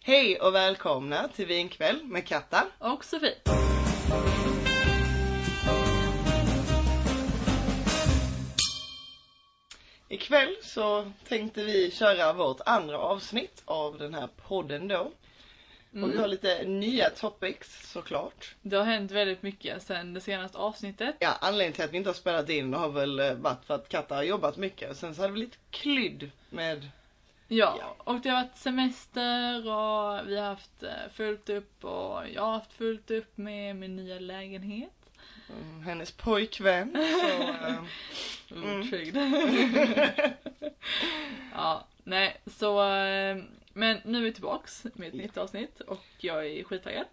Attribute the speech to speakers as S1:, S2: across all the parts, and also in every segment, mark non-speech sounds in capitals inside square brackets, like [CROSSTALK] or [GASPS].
S1: Hej och välkomna till Vinkväll med Katta.
S2: Och Sofie.
S1: Ikväll så tänkte vi köra vårt andra avsnitt av den här podden då. Och vi har lite nya topics såklart.
S2: Det har hänt väldigt mycket sen det senaste avsnittet.
S1: Ja, anledningen till att vi inte har spelat in har väl eh, varit för att Katta har jobbat mycket. Sen så hade vi lite klydd med
S2: Ja,
S1: Ja.
S2: och det har varit semester och vi har haft eh, fullt upp och jag har haft fullt upp med min nya lägenhet.
S1: mm, hennes pojkvän. Så, eh, Mm.
S2: Otrygg. [LAUGHS] ja, nej, så... eh, Men nu är vi tillbaks med ett
S1: Ja.
S2: nytt avsnitt och jag är skittaggad.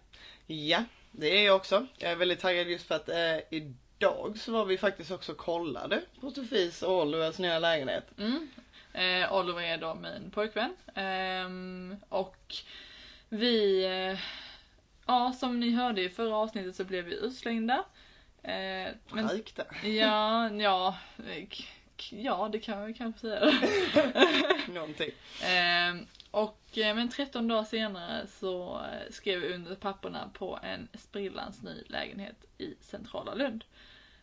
S1: ja, det är jag också. Jag är väldigt taggad just för att eh, idag så var vi faktiskt också och kollade på Sofis och Olivers nya lägenhet.
S2: Mm. Eh, Oliver är då min pojkvän. Ehm, och vi, eh, ja som ni hörde i förra avsnittet så blev vi utslängda. Eh, men,
S1: Rökte.
S2: ja, ja, eh, k- k- ja det kan vi kanske säga.
S1: Någonting.
S2: Ehm, och, eh, men 13 dagar senare så eh, skrev vi under papperna på en sprillans ny lägenhet i centrala Lund.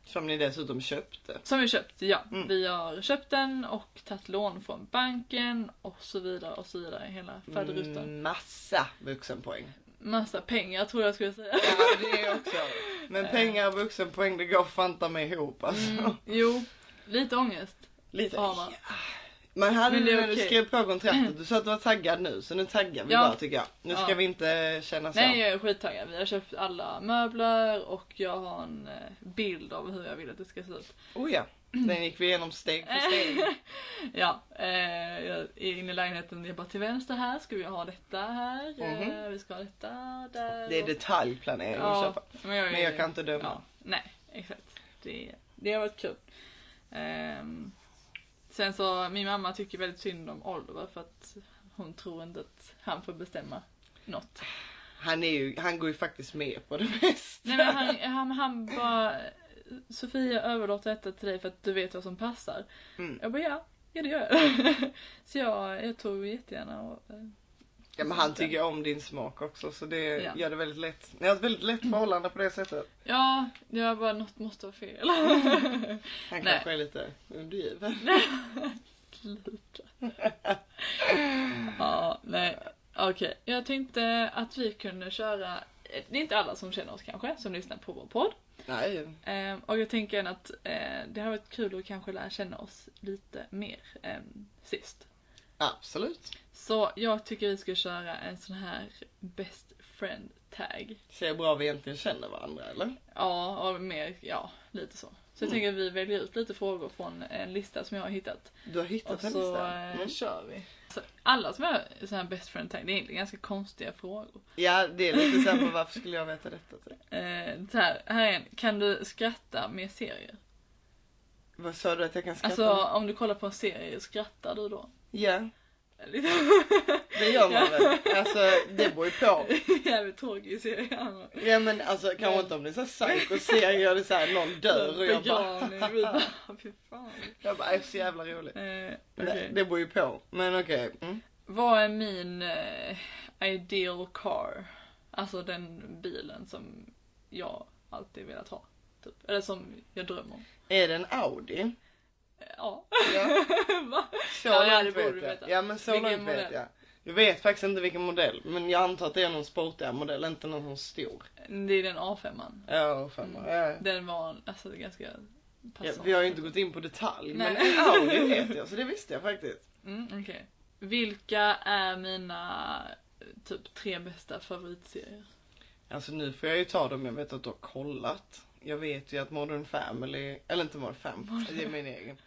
S1: Som ni dessutom köpte.
S2: Som vi köpt, ja.
S1: Mm.
S2: Vi har köpt den och tagit lån från banken och så vidare och så vidare. Hela faderuttan.
S1: Mm. Massa vuxenpoäng.
S2: Massa pengar tror jag skulle säga.
S1: Ja det är också. [LAUGHS] Men pengar och vuxenpoäng det går fanta mig ihop alltså.
S2: Mm, [LAUGHS] jo, lite ångest
S1: [LAUGHS] Lite.
S2: har man.
S1: Men hade
S2: Men det
S1: du
S2: är
S1: när du
S2: okej.
S1: skrev på
S2: [CLEARS THROAT]
S1: kontraktet, du sa att du var taggad nu så nu taggar vi
S2: Ja.
S1: bara tycker jag. Nu ska
S2: Ja.
S1: vi inte känna så.
S2: Nej jag är skittaggad. Vi har köpt alla möbler och jag har en eh, bild av hur jag vill att det ska se ut.
S1: Oh
S2: [CLEARS THROAT]
S1: ja. Den gick vi igenom steg för
S2: [LAUGHS]
S1: steg.
S2: Ja, eh, jag är inne i lägenheten. Jag bara till vänster här ska vi ha detta här. Eh,
S1: Mhm.
S2: vi ska ha detta där.
S1: Det är
S2: och-
S1: detaljplanering att köpa.
S2: men jag, är-
S1: Men jag kan inte döma.
S2: Ja, nej, exakt. Det, det har varit kul. Ehm, sen så, min mamma tycker väldigt synd om Oliver för att hon tror inte att han får bestämma något.
S1: Han, är ju, han går ju faktiskt med på det [LAUGHS] mesta.
S2: Nej men han, han, han bara, Sofia överlåter detta till dig för att du vet vad som passar.
S1: Mm.
S2: Jag bara ja, ja det gör jag. [LAUGHS] så jag, jag tog jättegärna och, eh,
S1: Ja, men han tycker om din smak också så det
S2: Ja.
S1: gör det väldigt lätt. Ni har ett väldigt
S2: [CLEARS THROAT]
S1: lätt förhållande på det sättet.
S2: ja, det var bara något måste vara fel.
S1: Han
S2: Nej.
S1: kanske är lite undergiven.
S2: Sluta. ja, nej. Okej, jag tänkte att vi kunde köra, eh, det är inte alla som känner oss kanske, som lyssnar på vår podd.
S1: Nej.
S2: Ehm, och jag tänker att eh, det har varit kul att kanske lära känna oss lite mer ehm, sist.
S1: Absolut.
S2: Så jag tycker vi ska köra en sån här best friend tag.
S1: Se hur bra vi egentligen känner varandra eller?
S2: Ja, och mer, ja, lite så. Så jag
S1: Mm. tänker
S2: tänker att vi väljer ut lite frågor från en lista som jag har hittat.
S1: Du har hittat
S2: Och
S1: en
S2: så
S1: lista.
S2: eh,
S1: Mm.
S2: kör vi. Så alla som är så här best friend tag, det är egentligen ganska konstiga frågor.
S1: Ja det är lite så här, men varför skulle jag veta detta? typ?
S2: Eh, så här, här är en. Kan du skratta med serier?
S1: Vad sa du att jag kan skratta?
S2: Alltså om du kollar på en serie, skrattar du då?
S1: Ja,
S2: Lite
S1: det gör man väl.
S2: [LAUGHS]
S1: Alltså det beror ju på.
S2: jävligt tråkig serie.
S1: Ja men alltså kanske inte om det är så här psykoserie och det är så här, någon dör och jag bara,
S2: Begravning, vi bara, fy fan.
S1: [LAUGHS] jag bara, det är så jävla roligt.
S2: Eh,
S1: Nej,
S2: okej.
S1: det beror ju på. Men okej. Mm.
S2: Vad är min eh, ideal car? Alltså den bilen som jag alltid velat ha. Typ. Eller som jag drömmer om.
S1: Är det en Audi?
S2: Eh, [LAUGHS] Ja. [LAUGHS]
S1: Ja.
S2: Va?
S1: Så
S2: Ja, ja, det
S1: långt
S2: borde
S1: vet
S2: du
S1: jag.
S2: veta.
S1: Ja men så
S2: Vilken
S1: långt vet
S2: modell?
S1: jag. Jag vet faktiskt inte vilken modell men jag antar att det är någon sportigare modell, inte någon sån stor.
S2: Det är den A5an.
S1: Ja, fan,
S2: Mm.
S1: ja.
S2: Den var alltså ganska
S1: Ja,
S2: passant.
S1: vi har ju inte gått in på detalj
S2: Nej.
S1: men en Audi
S2: [LAUGHS]
S1: vet jag så det visste jag faktiskt.
S2: Mm, okej. Vilka är mina eh, typ tre bästa favoritserier?
S1: Alltså nu får jag ju ta dem jag vet att du har kollat. Jag vet ju att Modern Family, eller inte Modern Family, det är min egen.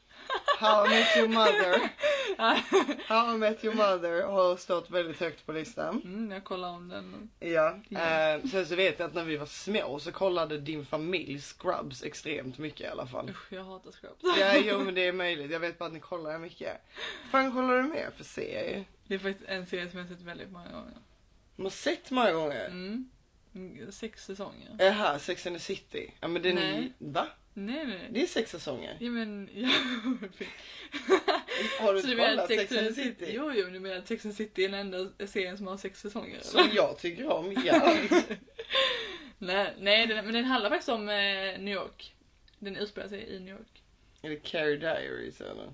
S1: How I Met Your
S2: [LAUGHS]
S1: Mother. How I Met Your Mother har stått väldigt högt på listan.
S2: Mm, jag kollar om den.
S1: Ja.
S2: Ja.
S1: Eh, sen så vet jag att när vi var små så kollade din familj Scrubs extremt mycket i alla fall.
S2: Usch, jag hatar Scrubs.
S1: Ja, jo men det är möjligt. Jag vet bara att ni kollar mycket. fan kollar du med för serier?
S2: [LAUGHS] Det är faktiskt en serie som jag har sett väldigt många gånger.
S1: Man har sett många gånger. Eh,
S2: Mm. Mm, Sex säsonger.
S1: Jaha, Sex and the City. Ja men den är ju...
S2: Nej.
S1: Va?
S2: Nej, nej.
S1: Det är sex säsonger.
S2: Ja, men... Ja.
S1: Har du
S2: Så du menar
S1: kollat
S2: att
S1: Sex and the
S2: City?
S1: City?
S2: Jo, jo, men du menar att Sex and the City är den enda serien som har sex säsonger? eller?
S1: Som jag tycker om,
S2: [LAUGHS]
S1: ja.
S2: Nej, nej den, men den handlar faktiskt om eh, New York. Den utspelar sig i New York.
S1: Är det Carrie Diaries eller?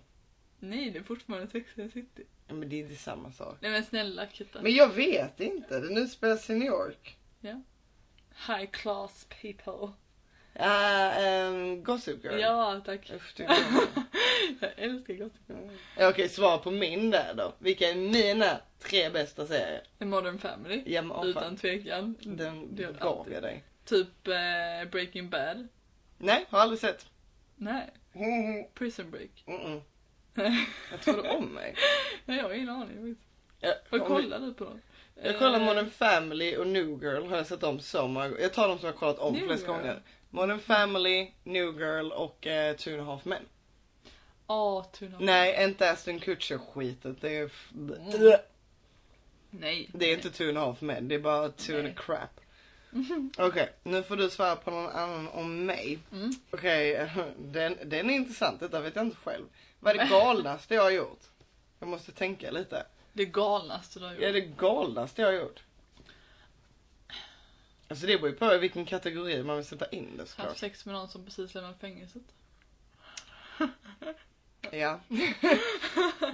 S2: Nej, det är fortfarande Sex and the City.
S1: Ja, Men det är inte samma sak.
S2: Nej men snälla Kitta.
S1: Men jag vet inte. Den utspelar sig i New York.
S2: High class people.
S1: Uh, um, Gossip Girl.
S2: Ja, tack.
S1: Uff, tycker jag.
S2: jag älskar Gossip Girl.
S1: Ja, Mm. Okej, svara på min där då. Vilka är mina tre bästa serier?
S2: The Modern Family.
S1: Ja, men, åh, fan.
S2: Utan tvekan.
S1: Den
S2: Det gör
S1: gav
S2: alltid.
S1: jag dig.
S2: Typ eh, Breaking Bad.
S1: Nej, har aldrig sett.
S2: Nej,
S1: Mm,
S2: Prison Break.
S1: mm. Jag tror du om
S2: [LAUGHS]
S1: mig?
S2: Nej, jag har ingen aning. faktiskt.
S1: Jag,
S2: Vad
S1: om-
S2: kollar du på då?
S1: jag kollar
S2: Eh,
S1: Modern Family och New Girl har jag sett om så många gånger. Jag tar de som jag har kollat om
S2: New
S1: flest
S2: Girl.
S1: gånger. Modern Family, New Girl och eh, Two and a Half Men.
S2: Ja, Two and a Half
S1: Nej, inte Aston Kutcher skitet. Det är, f-
S2: Mm. Nej.
S1: det är inte Two and a Half Men, det är bara Two and a
S2: Nej. [LAUGHS]
S1: Crap. Okej, nu får du svara på någon annan om mig.
S2: Mm.
S1: Okej, [LAUGHS] den, den är intressant. Detta vet jag inte själv. Vad är
S2: [LAUGHS]
S1: det galnaste jag har gjort? Jag måste tänka lite.
S2: Det galnaste du har gjort.
S1: Är det galnaste jag har gjort? Alltså det beror ju på i vilken kategori man vill sätta in det
S2: Haft
S1: såklart.
S2: sex med någon som precis lämnat fängelset. [LAUGHS]
S1: Ja.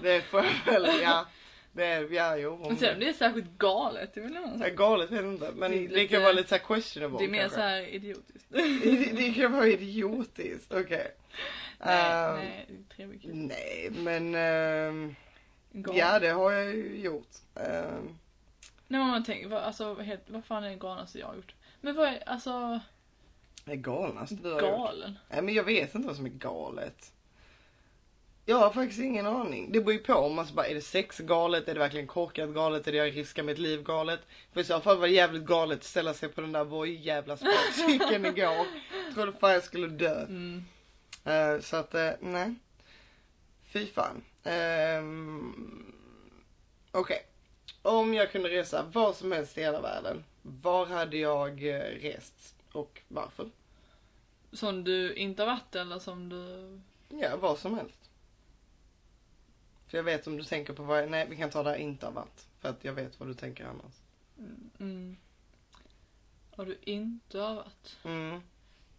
S1: det får jag väl, ja. Det är, ja jo. om
S2: Men sen om
S1: det-
S2: Alltså, det är särskilt galet, det är väl en annan
S1: Ja,
S2: sak.
S1: Galet vet jag inte, men
S2: Det
S1: det,
S2: är lite-
S1: kan vara lite så här questionable
S2: Det är mer
S1: kanske.
S2: såhär idiotiskt.
S1: [LAUGHS] Det- det kan vara idiotiskt, okej.
S2: nej,
S1: Ehm,
S2: nej, det är trevligt.
S1: nej, men ehm,
S2: Galet.
S1: ja det har jag ju gjort. Ehm,
S2: Nej men man tänker, vad, alltså, vad heter, vad fan är det galnaste jag har gjort? Men vad är, alltså,
S1: Det är galnaste du har gjort.
S2: galen?
S1: Nej men jag vet inte vad som är galet. Jag har faktiskt ingen aning. Det beror ju på om man så bara, är det sex galet? Är det verkligen korkat galet? Är det jag riskar mitt liv galet? För i så fall var det jävligt galet att ställa sig på den där vojjävla sparkcykeln igår. Trodde fan jag skulle dö.
S2: Mm.
S1: Eh, så att, eh, nej. Fy fan. Ehm, Okej. Om jag kunde resa var som helst i hela världen. Var hade jag eh, rest? Och varför?
S2: Som du inte har varit eller som du...
S1: Ja, vad som helst. För jag vet om du tänker på vad... Nej, vi kan ta det här inte har varit. För att jag vet vad du tänker annars.
S2: Mm, har du inte har varit?
S1: Mm.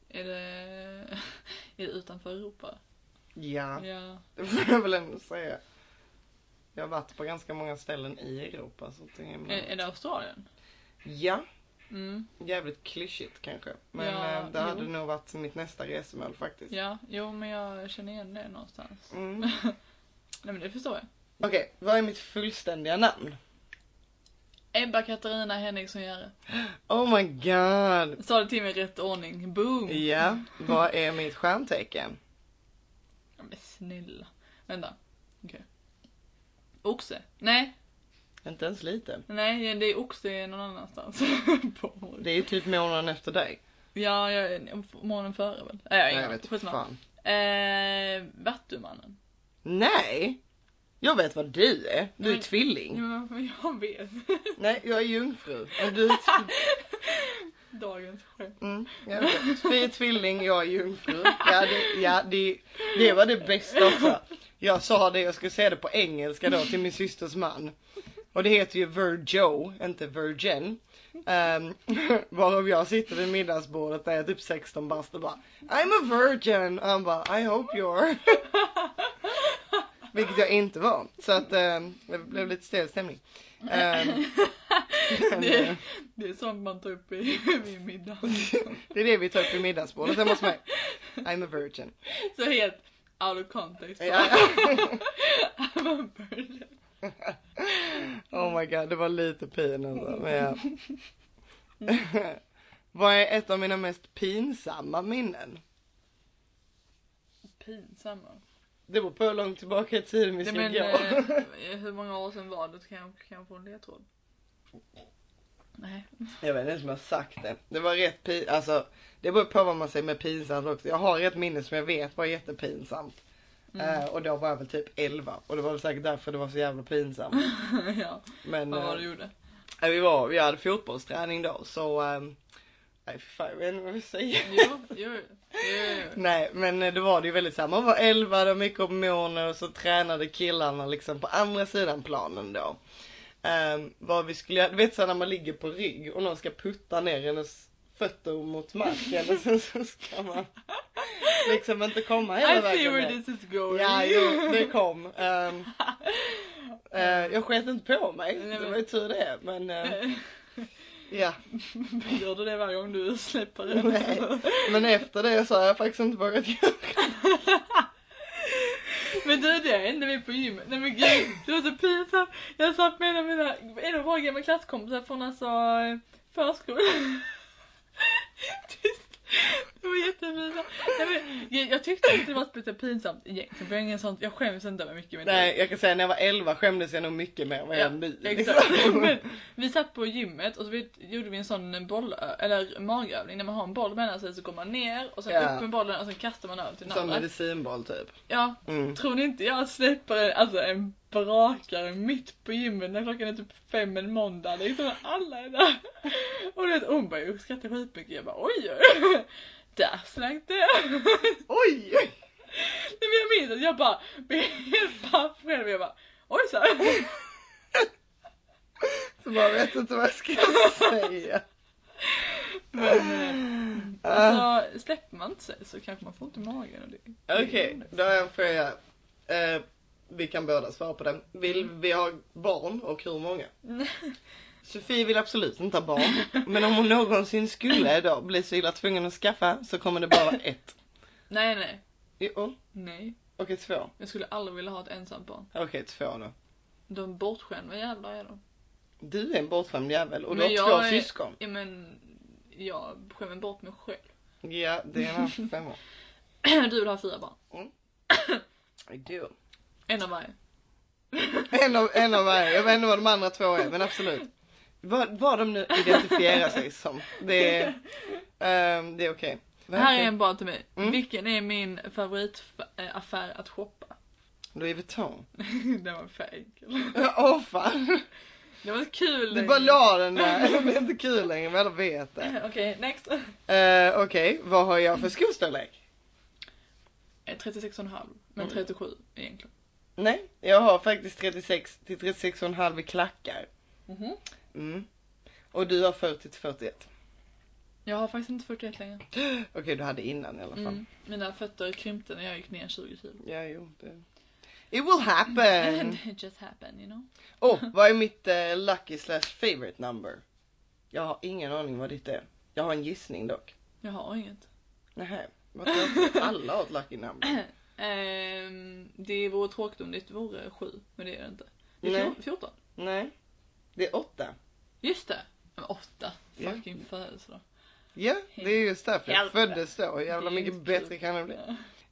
S2: Är det, [LAUGHS] är det utanför Europa?
S1: Ja, [LAUGHS]
S2: Ja.
S1: det får jag väl ändå säga. Jag har varit på ganska många ställen i Europa. Så det är himla...
S2: Är, är det Australien?
S1: Ja,
S2: Mm.
S1: jävligt klyschigt kanske. Men
S2: Ja,
S1: eh, det
S2: jo.
S1: hade nog varit mitt nästa resmål faktiskt.
S2: Ja, jo men jag känner igen det någonstans. [LAUGHS]
S1: Mm.
S2: Nej men det förstår jag.
S1: Okej, vad är mitt fullständiga namn?
S2: Ebba Katarina Henriksson Järre.
S1: Oh my god!
S2: Sa det till mig i rätt ordning. Boom!
S1: Ja, vad är mitt stjärntecken?
S2: Ja, men snälla. Vänta. Okej. Oxe? Nej,
S1: Inte ens lite.
S2: nej det är oxe någon annanstans. [LAUGHS] på morgonen.
S1: Det är ju typ månaden efter dig.
S2: Ja, jag, morgonen före väl? Nej, jag, har ingen
S1: jag
S2: aning.
S1: vet
S2: Skitsamma.
S1: fan.
S2: Eh, Vattumannen.
S1: Nej! Jag vet vad du är. Du är
S2: Nej.
S1: tvilling.
S2: Ja, men jag vet.
S1: [LAUGHS] Nej, jag är jungfru. Men
S2: [LAUGHS]
S1: du är tv-
S2: Dagens skämt.
S1: mm, jag vet. Vi är tvilling, jag är jungfru. Ja, det, ja, det, det var det bästa också. Jag sa det, jag skulle säga det på engelska då till min systers man. Och det heter ju Virgo, inte Virgin. Um, [LAUGHS] varav jag sitter vid middagsbordet när jag är typ 16 bast och bara I'm a virgin. Och han bara I hope you're. [LAUGHS] Vilket jag inte var. Så att ehm, det blev lite stel stämning. Ehm, [LAUGHS] men, eh,
S2: Det, det är sånt man tar upp i, vid middag.
S1: det är det vi tar upp vid middagsbordet hemma hos mig. I'm a virgin.
S2: Så helt out of context.
S1: Ja.
S2: [LAUGHS] Man börjar.
S1: Oh my god, det var lite pin alltså. Men ja.
S2: Mm.
S1: [LAUGHS] Vad är ett av mina mest pinsamma minnen?
S2: Pinsamma.
S1: Det beror på hur långt tillbaka i tiden vi
S2: Nej,
S1: ska
S2: men,
S1: gå.
S2: eh, hur många år sedan var det? Kan jag, kan jag få en ledtråd? Nej.
S1: [LAUGHS]
S2: [LAUGHS]
S1: Jag vet inte ens om jag har sagt det. Det var rätt pinsamt. Alltså, det beror på vad man säger med pinsamt också. Jag har ett minne som jag vet var jättepinsamt.
S2: Mm.
S1: Eh, och då var jag väl typ 11 och det var väl säkert därför det var så jävla
S2: [LAUGHS]
S1: pinsamt.
S2: ja,
S1: Men
S2: vad var
S1: eh,
S2: det du gjorde?
S1: vi, var, vi hade fotbollsträning då så eh, Nej fy fan jag vet inte vad vi säger.
S2: Jo, jo, jo.
S1: Nej men eh, då var det ju väldigt såhär, man var 11, det var mycket hormoner och så tränade killarna liksom på andra sidan planen då. Um, vad vi skulle göra, du vet såhär när man ligger på rygg och någon ska putta ner hennes fötter mot marken och sen så ska man liksom inte komma hela
S2: I see
S1: vägen ner.
S2: where this is going.
S1: Ja, jo, det kom.
S2: [LAUGHS]
S1: Ehm, eh, jag sket inte på mig.
S2: Nej, men-
S1: Det var ju tur det. Men eh, ja,
S2: [LAUGHS] Gör du det varje gång
S1: [LAUGHS]
S2: du släpper den?
S1: nej. Men efter det så har jag faktiskt inte vågat göra
S2: Men du, det hände vi på gymmet. Nej men gud, det var så pinsamt. Jag satt med en av mina, en av våra gamla klasskompisar från alltså eh, förskolan. Tyst. Det var jättepinsamt. Nej, men, jag, jag tyckte inte det var lite pinsamt egentligen. För jag, har ingen sånt, jag skäms inte över mycket. Men
S1: Nej, jag kan säga när jag var 11 skämdes jag nog mycket mer än vad jag
S2: Ja,
S1: gör nu. [LAUGHS]
S2: exakt.
S1: liksom.
S2: Men vi satt på gymmet och så vi, gjorde vi en sån boll, eller magövning när man har en boll mellan sig så går man ner och sen
S1: Ja.
S2: upp med bollen och sen kastar man över till den
S1: Som
S2: andra.
S1: medicinboll typ.
S2: Ja,
S1: Mm.
S2: Tror ni inte jag släpper en, alltså en brakare mitt på gymmet när klockan är typ fem en måndag liksom när alla är där? Och du vet hon bara jag skrattar skitmycket jag bara oj oj där slank det.
S1: Oj! [LAUGHS]
S2: Nej, men jag minns att jag bara blev helt paff själv jag bara oj så.
S1: Så man vet inte vad jag ska säga.
S2: Men eh,
S1: Ah,
S2: alltså, släpper man inte sig så kanske man får inte magen och det.
S1: [LAUGHS] Okej, då har jag en fråga. Eh, vi kan båda svara på den. Vill vi ha barn och hur [LAUGHS] många? Sofie vill absolut inte ha barn. Men om hon någonsin skulle då bli så illa tvungen att skaffa så kommer det bara vara ett.
S2: Nej nej
S1: Jo,
S2: nej.
S1: okej två.
S2: Jag skulle aldrig vilja ha ett ensamt barn.
S1: Okej två då.
S2: De bortskämda jävlar är de.
S1: Du är en bortskämd jävel och du
S2: Men
S1: har
S2: jag
S1: två
S2: är-
S1: syskon.
S2: Ja men jag skämmer bort mig själv. [CLEARS THROAT]
S1: Ja, det är en
S2: [LAUGHS]
S1: annan femma.
S2: Du vill ha fyra barn.
S1: I do.
S2: En av varje.
S1: En av, en av varje. Jag vet inte vad de andra två är men absolut. Vad, vad de nu identifierar sig som. Det är, ehm, det är okej.
S2: Det här är en bara till mig.
S1: Mm.
S2: Vilken är min favoritaffär att shoppa? [LAUGHS]
S1: Louis Vuitton. [LAUGHS]
S2: Den var för enkel.
S1: Åh fan.
S2: Det var kul.
S1: Du bara la den där.
S2: [LAUGHS]
S1: Det är inte kul längre men alla vet det.
S2: Okej, next.
S1: Eh, Okej, vad har jag för skostorlek?
S2: Eh, 36,5. Men
S1: Oj.
S2: 37 egentligen.
S1: Nej, jag har faktiskt 36 till 36,5 i klackar. Mm. Och du har 40 till 41.
S2: Jag har faktiskt inte 41 längre.
S1: Okej, du hade innan i alla fall.
S2: Mm. Mina fötter krympte när jag gick ner 20
S1: [LAUGHS]
S2: kilo.
S1: Ja, jo. Det... It will
S2: [LAUGHS]
S1: happen!
S2: It just happened you know.
S1: Åh, oh, vad är mitt eh, lucky slash favorite number? Jag har ingen aning vad ditt är. Jag har en gissning dock.
S2: Jag har inget.
S1: Nähä, vad
S2: [LAUGHS]
S1: tråkigt. Alla har ett lucky number.
S2: Ehm, det vore tråkigt om det vore 7. Men det är det inte. Det är
S1: Nej.
S2: fjor- 14.
S1: Nej, det är åtta.
S2: Just det. 8.
S1: Ja.
S2: Fucking födelsedag.
S1: Ja, det är just därför jag
S2: Hjälp.
S1: föddes då. Jävla
S2: Det är
S1: mycket
S2: inte
S1: bättre
S2: klokt.
S1: kan det bli.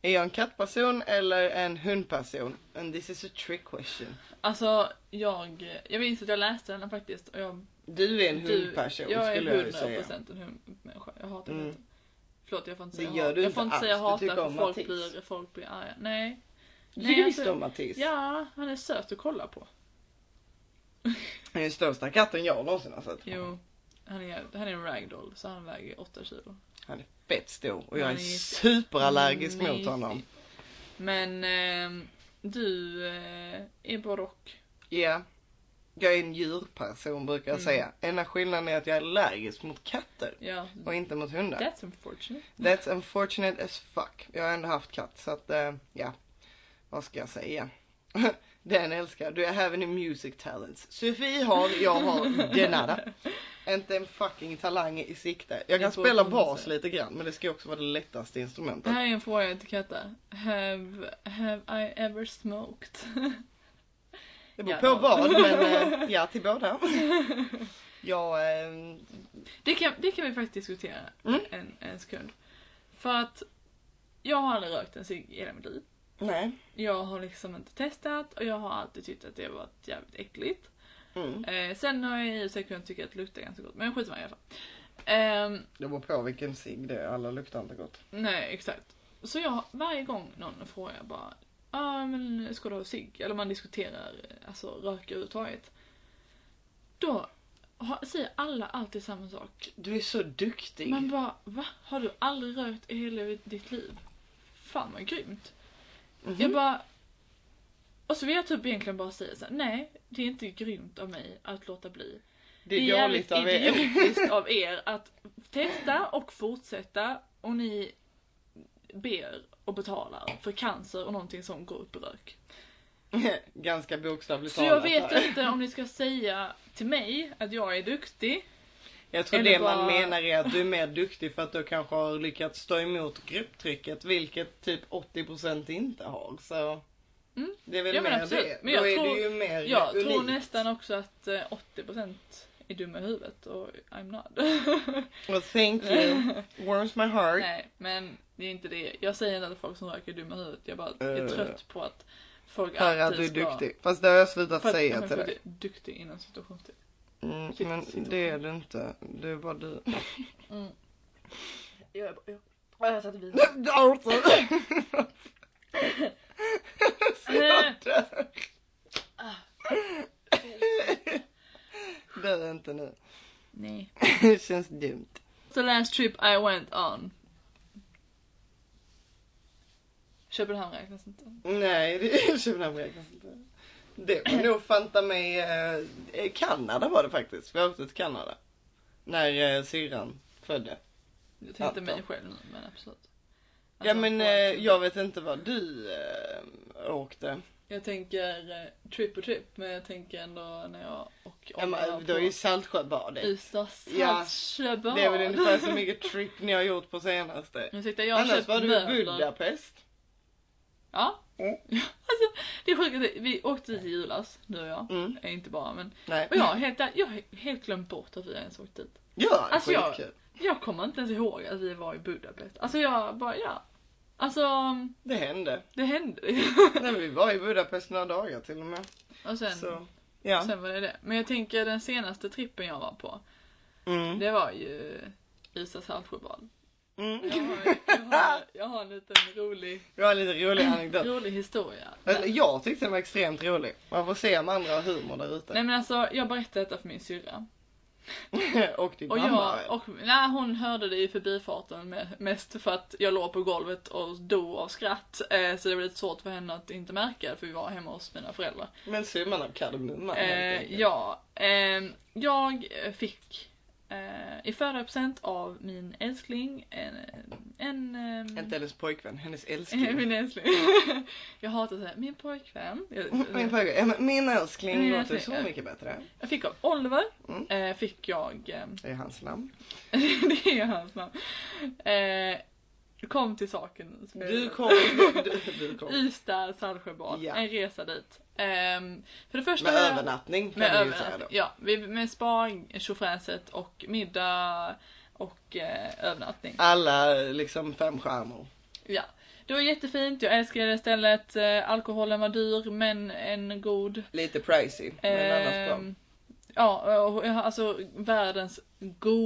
S1: Är jag en kattperson eller en hundperson? And this is a trick question.
S2: Alltså jag, jag minns att jag läste den här faktiskt och jag,
S1: Du är en
S2: du-
S1: hundperson
S2: jag
S1: skulle jag ju
S2: är
S1: säga.
S2: 100% en hundmänniska. Jag hatar
S1: Mm.
S2: katter. Förlåt jag får inte
S1: Det
S2: säga
S1: gör
S2: hat.
S1: du
S2: Jag får
S1: inte
S2: inte säga
S1: alls. Du
S2: hata
S1: tycker om
S2: för folk
S1: Mattias.
S2: blir, folk blir arga. Nej. Nej,
S1: Just
S2: alltså-
S1: om Mattis.
S2: Ja, han är söt att kolla på.
S1: Han är den största katten jag någonsin har sett.
S2: Jo. Han är, han är en ragdoll så han väger 8 kilo.
S1: Han är fett stor och jag
S2: Han
S1: är
S2: är
S1: superallergisk mot
S2: mysig.
S1: honom.
S2: Men ehm, du eh, är barock.
S1: Ja. Jag är en djurperson brukar jag
S2: Mm.
S1: säga. Enda skillnaden är att jag är allergisk mot katter
S2: Ja.
S1: och inte mot hundar.
S2: That's unfortunate.
S1: That's unfortunate as fuck. Jag har ändå haft katt så att eh, ja, vad ska jag säga? [LAUGHS] Den älskar jag. Do I have any music talents? Sofie har, jag har, det nada. Inte en fucking talang i sikte. Jag
S2: Det
S1: kan
S2: får
S1: spela
S2: komma
S1: bas
S2: sig.
S1: lite grann men det ska ju också vara det lättaste
S2: Det
S1: instrumentet.
S2: här är en fråga till katter. Have, have I ever smoked?
S1: Det beror
S2: Ja,
S1: på
S2: då.
S1: vad [LAUGHS] men eh, ja till båda. Jag, eh,
S2: Det kan, det kan vi faktiskt diskutera
S1: Mm.
S2: en, en sekund. För att jag har aldrig rökt en cigg i hela mitt liv.
S1: nej.
S2: Jag har liksom inte testat och jag har alltid tyckt att det har varit jävligt äckligt.
S1: Mm.
S2: Eh, sen har jag i och för sig kunnat tycka att det luktar ganska gott, men skit i alla fall. Ehm,
S1: Det beror på vilken cigg det är, alla luktar inte gott.
S2: nej, exakt. Så jag, varje gång någon frågar bara ja men ska du ha cigg? Eller man diskuterar eh, alltså rök överhuvudtaget. Då har- säger alla alltid samma sak.
S1: Du är så duktig.
S2: Man bara, va? Har du aldrig rökt i hela ditt liv? Fan vad grymt.
S1: Mhm.
S2: Jag bara... Och så vill jag typ egentligen bara säga så här, nej, det är inte grymt av mig att låta bli.
S1: det är dåligt av er. [LAUGHS]
S2: idiotiskt av er att testa och fortsätta och ni ber och betalar för cancer och någonting som går upp i rök.
S1: [LAUGHS] Ganska bokstavligt
S2: Så jag
S1: talat.
S2: vet
S1: här.
S2: inte om ni ska säga till mig att jag är duktig.
S1: Jag tror
S2: Eller
S1: det
S2: bara-
S1: man menar är att du är mer duktig för att du kanske har lyckats stå emot grupptrycket vilket typ 80% inte har. Så
S2: Mm.
S1: det är väl
S2: Ja, men
S1: mer
S2: absolut.
S1: det.
S2: Men jag
S1: Då är
S2: tror-
S1: det ju mer
S2: Jag
S1: unikt.
S2: tror nästan också att eh, 80% är dumma i huvudet och I'm not.
S1: Well, thank you.
S2: [LAUGHS]
S1: Warms my heart.
S2: Nej, men det är inte det. Jag säger inte att folk som röker är dumma i huvudet. Jag bara är
S1: Eh.
S2: trött på att folk
S1: Höra att du är
S2: alltid ska-
S1: duktig. Fast det har jag slutat
S2: för att- ja,
S1: säga
S2: men
S1: till
S2: för att
S1: dig.
S2: du är Duktig inom situationstecken.
S1: Mm,
S2: Shit,
S1: men
S2: shit.
S1: det är du inte. Du är bara
S2: [LAUGHS]
S1: du.
S2: Jag är bara, jag, jag har satt vin.
S1: alltså. [LAUGHS]
S2: Nej. Ah.
S1: Det är inte nu.
S2: Nej.
S1: Det känns dumt.
S2: The last trip I went on. Köpenhamn räknas inte.
S1: Nej, det Köpenhamn räknas inte. Det var nog fanta mig eh, eh, Kanada var det faktiskt. Vi åkte till Kanada. När eh, syrran födde.
S2: Jag tänkte
S1: Anton.
S2: mig själv nu, men absolut.
S1: Ja
S2: Alltså,
S1: men
S2: folk-
S1: eh, jag vet inte vad du eh, åkte.
S2: Jag tänker eh, trip och trip, men jag tänker ändå när jag och
S1: Ja, men, det var eh, ju Saltsjöbadet.
S2: Ystad
S1: Ja,
S2: Saltsjöbad.
S1: Det är
S2: [LAUGHS]
S1: väl ungefär så mycket trip ni har gjort på senaste.
S2: Ursäkta, jag har
S1: Annars
S2: köpt
S1: var du i
S2: möbler.
S1: Budapest.
S2: Ja.
S1: Mm.
S2: [LAUGHS] Alltså, det är sjukt att vi åkte dit i julas, du och jag.
S1: Mm.
S2: Eh, Inte bara, men.
S1: Nej.
S2: Och jag har helt, jag har helt glömt bort att vi ens åkt dit.
S1: Ja,
S2: Alltså, jag-
S1: skitkul.
S2: Jag kommer inte ens ihåg att vi var i Budapest. Alltså jag bara, ja. Alltså,
S1: Det hände.
S2: det hände. [LAUGHS]
S1: Nej, men vi var i Budapest några dagar till och med.
S2: och sen,
S1: Så, ja.
S2: sen var det det. Men jag tänker den senaste trippen jag var på,
S1: Mm.
S2: det var ju Ystad Saltsjöbad.
S1: Mm.
S2: Jag, har- jag, har- jag har en liten rolig,
S1: Det var en lite rolig anekdot.
S2: rolig historia.
S1: Eller, jag tyckte den var extremt rolig. Man får se om andra har humor där ute.
S2: Nej men alltså, jag berättade detta för min syrra.
S1: [LAUGHS] och din
S2: Och
S1: mamma.
S2: jag, och, nej, hon hörde det i förbifarten med, mest för att jag låg på golvet och dog av skratt. Eh, så det var lite svårt för henne att inte märka det för vi var hemma hos mina föräldrar.
S1: Men summan av kardemumman helt
S2: Eh,
S1: enkelt.
S2: ja, ehm, jag fick eh, i födelsedagspresent av min älskling en... en, ehm, [LAUGHS]
S1: Inte hennes pojkvän, hennes
S2: eh,
S1: älskling.
S2: min älskling. [LAUGHS] jag hatar att säga min pojkvän. Jag,
S1: [LAUGHS] Min pojkvän, ja, men min älskling
S2: Min
S1: låter
S2: älskling, ja.
S1: så mycket bättre.
S2: jag fick av Oliver.
S1: Mm.
S2: Eh, [LAUGHS] fick jag... ehm,
S1: Det är hans namn.
S2: det är hans namn. Eh, kom till saken. som jag
S1: Du
S2: gillar.
S1: kom. [LAUGHS] Du, du kom.
S2: Ystad, Saltsjöbad.
S1: Ja.
S2: En resa dit. Ehm, för det första...
S1: Med övernattning kan
S2: Med
S1: vi ju säga
S2: övernatt.
S1: då.
S2: Ja, vi- med spa, tjofräset och middag och eh, övernattning.
S1: Ah. Alla liksom fem stjärnor.
S2: Ja. Det var jättefint, jag älskade det stället. Eh, alkoholen var dyr men en god.
S1: Lite pricey, men annars bra.
S2: Ehm, ja, och, jag har alltså världens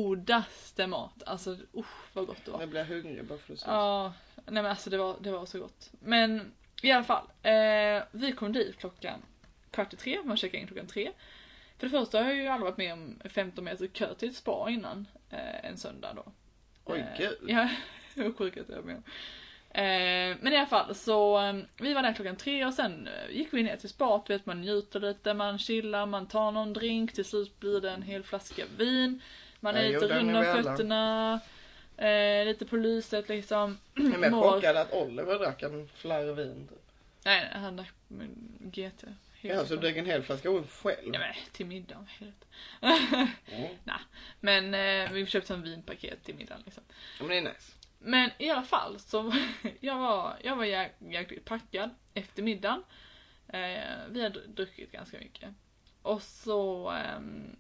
S2: godaste mat. Alltså usch vad gott det var.
S1: Jag blir hungrig bara för att säga
S2: Ja, nej men alltså det var, det var så gott. Men i alla fall, eh, vi kom dit klockan kvart i tre, man checkade in klockan tre. För det första har jag ju aldrig varit med om 15 meter kö till ett spa innan eh, en söndag då. Eh,
S1: Oj, gud.
S2: Ja, [LAUGHS] det var sjukt att jag var med om. Eh, men i alla fall så eh, vi var där klockan tre och sen eh, gick vi ner till spat, du vet man njuter lite, man chillar, man tar någon drink, till slut blir det en hel flaska vin. Man
S1: Ja,
S2: är
S1: jo,
S2: lite
S1: den är
S2: rund om
S1: vi alla.
S2: fötterna, eh, lite på lyset liksom.
S1: Jag är mer
S2: mår-
S1: chockad att Oliver drack en flarr vin.
S2: Nej, nej, han drack mm, GT.
S1: Ja, så du drack en hel flaska whisky själv.
S2: Ja, men, till middag, om helvete.
S1: Mm.
S2: men eh, vi köpte en vinpaket till middagen liksom.
S1: Men det är nice.
S2: Men i alla fall så [LAUGHS] jag var jag var jäk- jäkligt packad efter middagen. Eh, vi hade druckit ganska mycket. Och så ehm,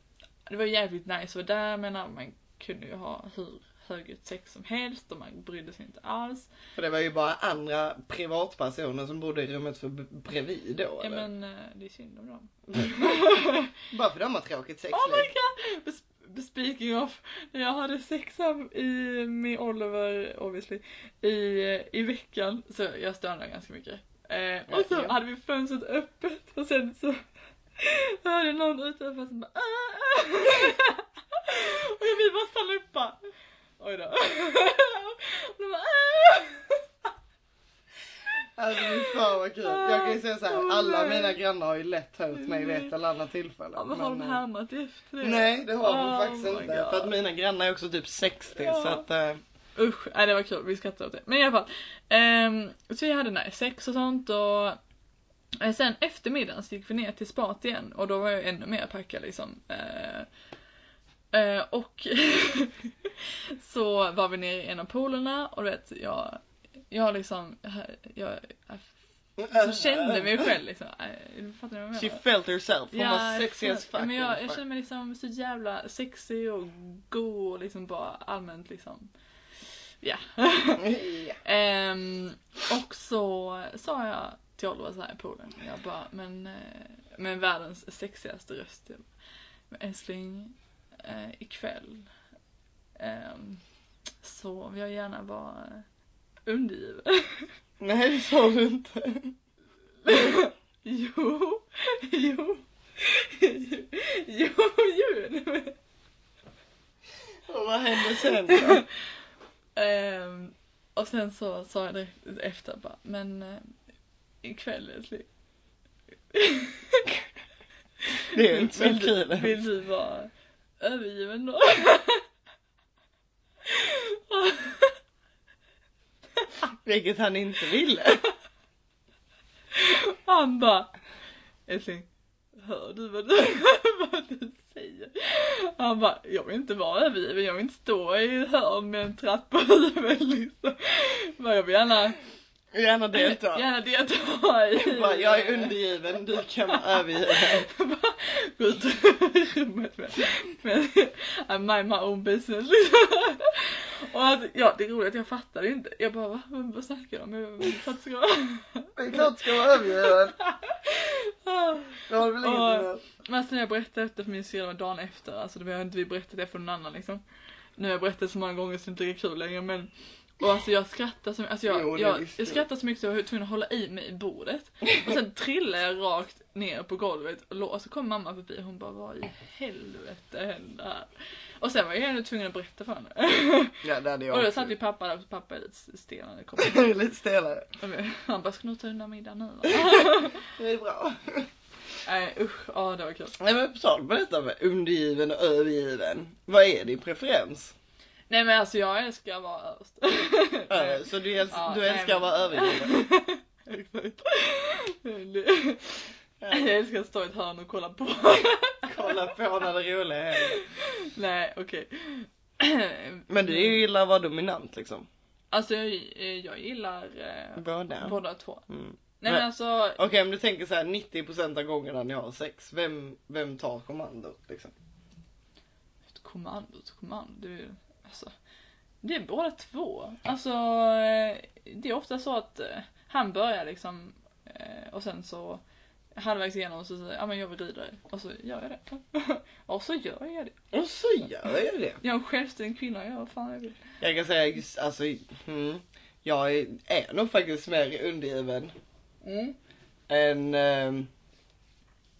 S2: det var jävligt nice att vara där men man kunde ju ha hur högt sex som helst och man brydde sig inte alls.
S1: För det var ju bara andra privatpersoner som bodde i rummet för b- bredvid då
S2: Ja,
S1: eller?
S2: men eh, det är synd om dem.
S1: Bara för de har tråkigt sexliv.
S2: Oh my god! Bes- Speaking of, när jag hade sex här i, med Oliver obviously i, i veckan så jag stönade ganska mycket. Eh, och så
S1: Ja, ja.
S2: hade vi fönstret öppet och sen så [LAUGHS] hörde någon utanför som bara "Ah, ah." [LAUGHS] Och vi bara stannade upp bara. Oj då. [LAUGHS] Och de bara "Ah." [LAUGHS]
S1: Alltså fy fan vad kul. Jag kan ju säga så här, alla mina grannar har ju lätt höjt mig vid ett eller annat tillfälle.
S2: Ja, men har de
S1: eh,
S2: härmat efter det?
S1: Nej det har de
S2: Oh
S1: faktiskt
S2: my
S1: inte.
S2: God.
S1: För att mina grannar är också typ 60
S2: Ja.
S1: så att eh,
S2: Usch, nej, det var kul. Vi skrattade åt det. Men i alla fall. ehm, så vi hade nej, sex och sånt och eh, sen efter middagen så gick vi ner till spat igen och då var jag ännu mer packad liksom. Eh, eh, och [LAUGHS] så var vi nere i en av polerna och du vet, jag, jag liksom, jag, jag kände mig själv liksom. Eh, Fattar ni vad jag menar?
S1: She felt herself. Hon var
S2: jag
S1: sexy as
S2: känner-
S1: fuck.
S2: Men jag, jag
S1: ungefär.
S2: känner mig liksom så jävla sexig och god och liksom bara allmänt liksom. Ja.
S1: Ja.
S2: Ehm, och så sa jag till Oliver så här i poolen. Jag bara, men eh, med världens sexigaste röst. Jag bara, men älskling, eh, ikväll ehm, så vill jag gärna vara undergiven.
S1: [LAUGHS]
S2: [LAUGHS]
S1: Nej det sa du inte.
S2: Jo, jo, jo, jo, jo.
S1: Och vad hände sen då?
S2: Ehm, och sen så sa jag det efter bara, men eh, ikväll älskling. [LAUGHS]
S1: Det är inte så
S2: Vill du-
S1: kul.
S2: Vill du vara övergiven då?
S1: Vilket han inte ville.
S2: Han bara, älskling, hör du vad du, [LAUGHS] vad du säger? Han bara, jag vill inte vara övergiven, jag vill inte stå i ett hörn med en tratt på huvudet liksom. Bara, jag vill gärna,
S1: Gärna delta.
S2: gärna delta i...
S1: Bara, jag är undergiven, du kan vara övergiven.
S2: Bara, Gå ut ur rummet med. Men I mind my own business liksom. Och alltså, ja, det är roligt att jag fattade inte. Jag bara va? Vad vad snackar de om? Jag bara, "För att det ska vara-"
S1: Det är klart du ska vara övergiven.
S2: Ah.
S1: Det har väl inget
S2: Åh.
S1: med.
S2: Men alltså när jag berättade efter för min syrra dagen efter, alltså det har inte vi berättat det för någon annan liksom. Nu har jag berättat så många gånger så det inte är kul längre men och alltså jag skrattade så mycket, alltså jag,
S1: Jo, det
S2: jag,
S1: visste
S2: jag
S1: jag.
S2: skrattade så mycket så jag var tvungen att hålla i mig i bordet. Och sen trillade jag rakt ner på golvet och, lå- och så kom mamma förbi och hon bara vad i helvete hände här? Och sen var jag ändå tvungen att berätta för henne.
S1: [LAUGHS] Ja det hade jag
S2: och då
S1: också
S2: satt
S1: [LAUGHS]
S2: ju
S1: gjort.
S2: pappa där och pappa är lite stel när det kom.
S1: Det är lite stelare.
S2: Han bara ska du ta undan middagen nu va?
S1: Det är bra.
S2: Nej usch, ja det var kul.
S1: Nej men på tal om detta med undergiven och övergiven. Vad är din preferens?
S2: Nej men alltså jag älskar att vara överst.
S1: Ö, Eh, Så du, äls-
S2: Ja,
S1: du
S2: nej,
S1: älskar att
S2: men-
S1: vara [LAUGHS] övergiven?
S2: [LAUGHS] Exakt. Jag
S1: Ja,
S2: älskar att stå i ett hörn och kolla på. [LAUGHS]
S1: kolla på när det roliga händer.
S2: Nej, okej. [CLEARS THROAT]
S1: Men du gillar att vara dominant liksom?
S2: Alltså jag, jag gillar eh,
S1: Båda?
S2: båda två.
S1: Mm.
S2: Nej men alltså,
S1: Okej om du tänker så här 90% av gångerna ni har sex, vem, vem tar kommandot liksom?
S2: ett kommando, ett kommando. Det är, ju- alltså, det är båda två. Alltså, eh, det är ofta så att eh, han börjar liksom eh, och sen så halvvägs igenom så säger jag, ja men jag vill rida dig. Och så gör jag det. [LAUGHS] och så gör jag det.
S1: Och så gör jag det.
S2: Jag är en självständig kvinna, jag gör vad fan jag vill.
S1: Jag kan säga just, alltså, mm, jag är, är nog faktiskt mer undergiven
S2: Mm.
S1: än ehm,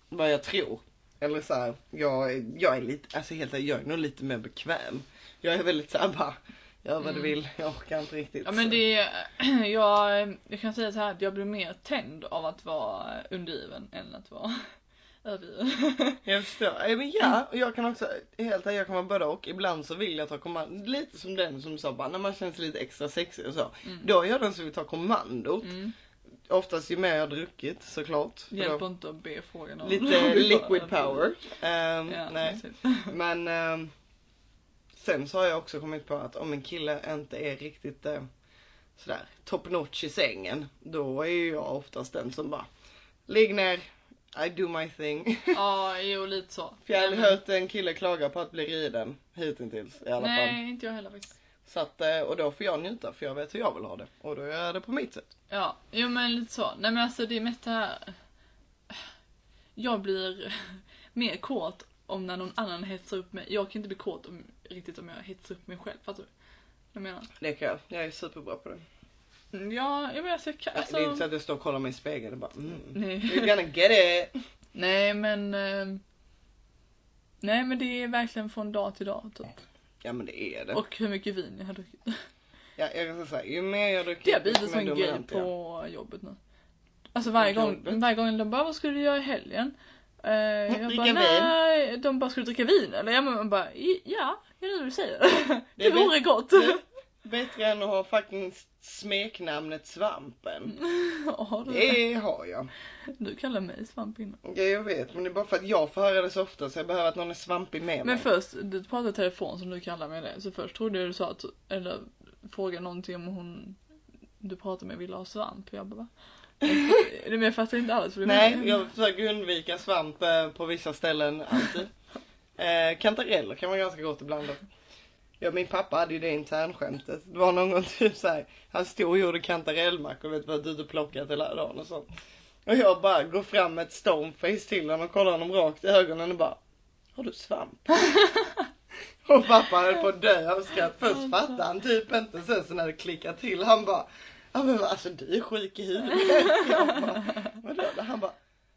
S1: vad jag tror. Eller så här, jag, är- jag är lite, alltså helt ärligt, jag är nog lite mer bekväm. Jag är väldigt såhär bara, gör vad du
S2: Mm.
S1: vill, jag orkar inte riktigt.
S2: Ja men det är, [CLEARS THROAT] jag, jag kan säga så här att jag blir mer tänd av att vara undergiven än att vara [LAUGHS]
S1: [LAUGHS]
S2: övergiven.
S1: Jag förstår. Eh, Men ja, och jag kan också, helt ärligt, jag kan vara både och. Ibland så vill jag ta kommando. Lite som den som sa bara, när man känns lite extra sexig och så. Då är jag den som vill ta kommandot.
S2: Mm.
S1: Oftast ju mer jag har druckit såklart. För
S2: Det
S1: då-
S2: hjälper inte att be frågan [LAUGHS] om
S1: Lite liquid power. Ehm,
S2: Ja,
S1: nej. [LAUGHS]
S2: precis.
S1: Men ehm, sen så har jag också kommit på att om en kille inte är riktigt eh, sådär top notch i sängen. Då är ju jag oftast den som bara ligg ner, I do my thing. [LAUGHS]
S2: Ja, jo lite så.
S1: För jag har aldrig hört en kille klaga på att bli riden hittills i alla fall.
S2: Nej, inte jag heller faktiskt.
S1: Så att, eh, och då får jag njuta för jag vet hur jag vill ha det. Och då gör jag det på mitt sätt.
S2: Ja, jo men lite så. Nej men alltså det är mest det här. [SIGHS] Jag blir [LAUGHS] mer kåt om när någon annan hetsar upp mig. Jag kan inte bli kåt om, riktigt om jag hetsar upp mig själv. Fattar du? Vad jag menar?
S1: Det kan jag. Jag är superbra på det.
S2: Ja, jag menar alltså, jag kan,
S1: Nej,
S2: alltså...
S1: Det är inte så att jag står och kollar mig i spegeln och bara mm.
S2: Nej.
S1: You're gonna get it.
S2: Nej men... eh, Nej men det är verkligen från dag till dag typ.
S1: Ja men det är det.
S2: Och hur mycket vin jag har druckit.
S1: Ja, jag kan säga så här, ju mer jag dricker
S2: Det har blivit en
S1: desto mer
S2: sån grej
S1: dominant jag är.
S2: på jobbet nu. Alltså varje
S1: På
S2: gång,
S1: jobbet?
S2: varje gång de bara, vad skulle du göra i helgen? Eh, jag
S1: Mm, Dricka
S2: bara,
S1: vin.
S2: nej. De bara, skulle du dricka vin eller? Ja, men man bara, "I- ja, det är det du säger. [LAUGHS] Det,
S1: är bäst-
S2: vore gott.
S1: det- Bättre än att ha fucking smeknamnet Svampen.
S2: Mm. Ja, du,
S1: Det har jag.
S2: du kallar mig svamp innan.
S1: Ja, jag vet, men det är bara för att jag får höra det så ofta så jag behöver att någon är svampig med
S2: Men
S1: mig.
S2: först, du pratade i telefon som du kallar mig det. Så först trodde jag du sa att, eller frågade någonting om hon du pratade med ville ha svamp.
S1: [LAUGHS]
S2: Jag bara, va? Men jag fattar inte alls. vad du menar.
S1: Nej, jag försöker undvika svamp eh, på vissa ställen
S2: [LAUGHS]
S1: alltid. eh, kantareller kan vara ganska gott ibland. dock. Ja, min pappa hade ju det internskämtet. Det var någon gång typ så här. Han stod och gjorde kantarellmackor, vet vad du plockat hela dagen och sånt. Och jag bara går fram med ett stoneface till honom och kollar honom rakt i ögonen och bara. Har du
S2: [LAUGHS]
S1: svamp? och pappa höll på att dö av skratt. Först fattade han typ inte. Sen så när det klickade till han bara. Ja men alltså du är sjuk i huvudet. Jag bara, vadå? Han bara.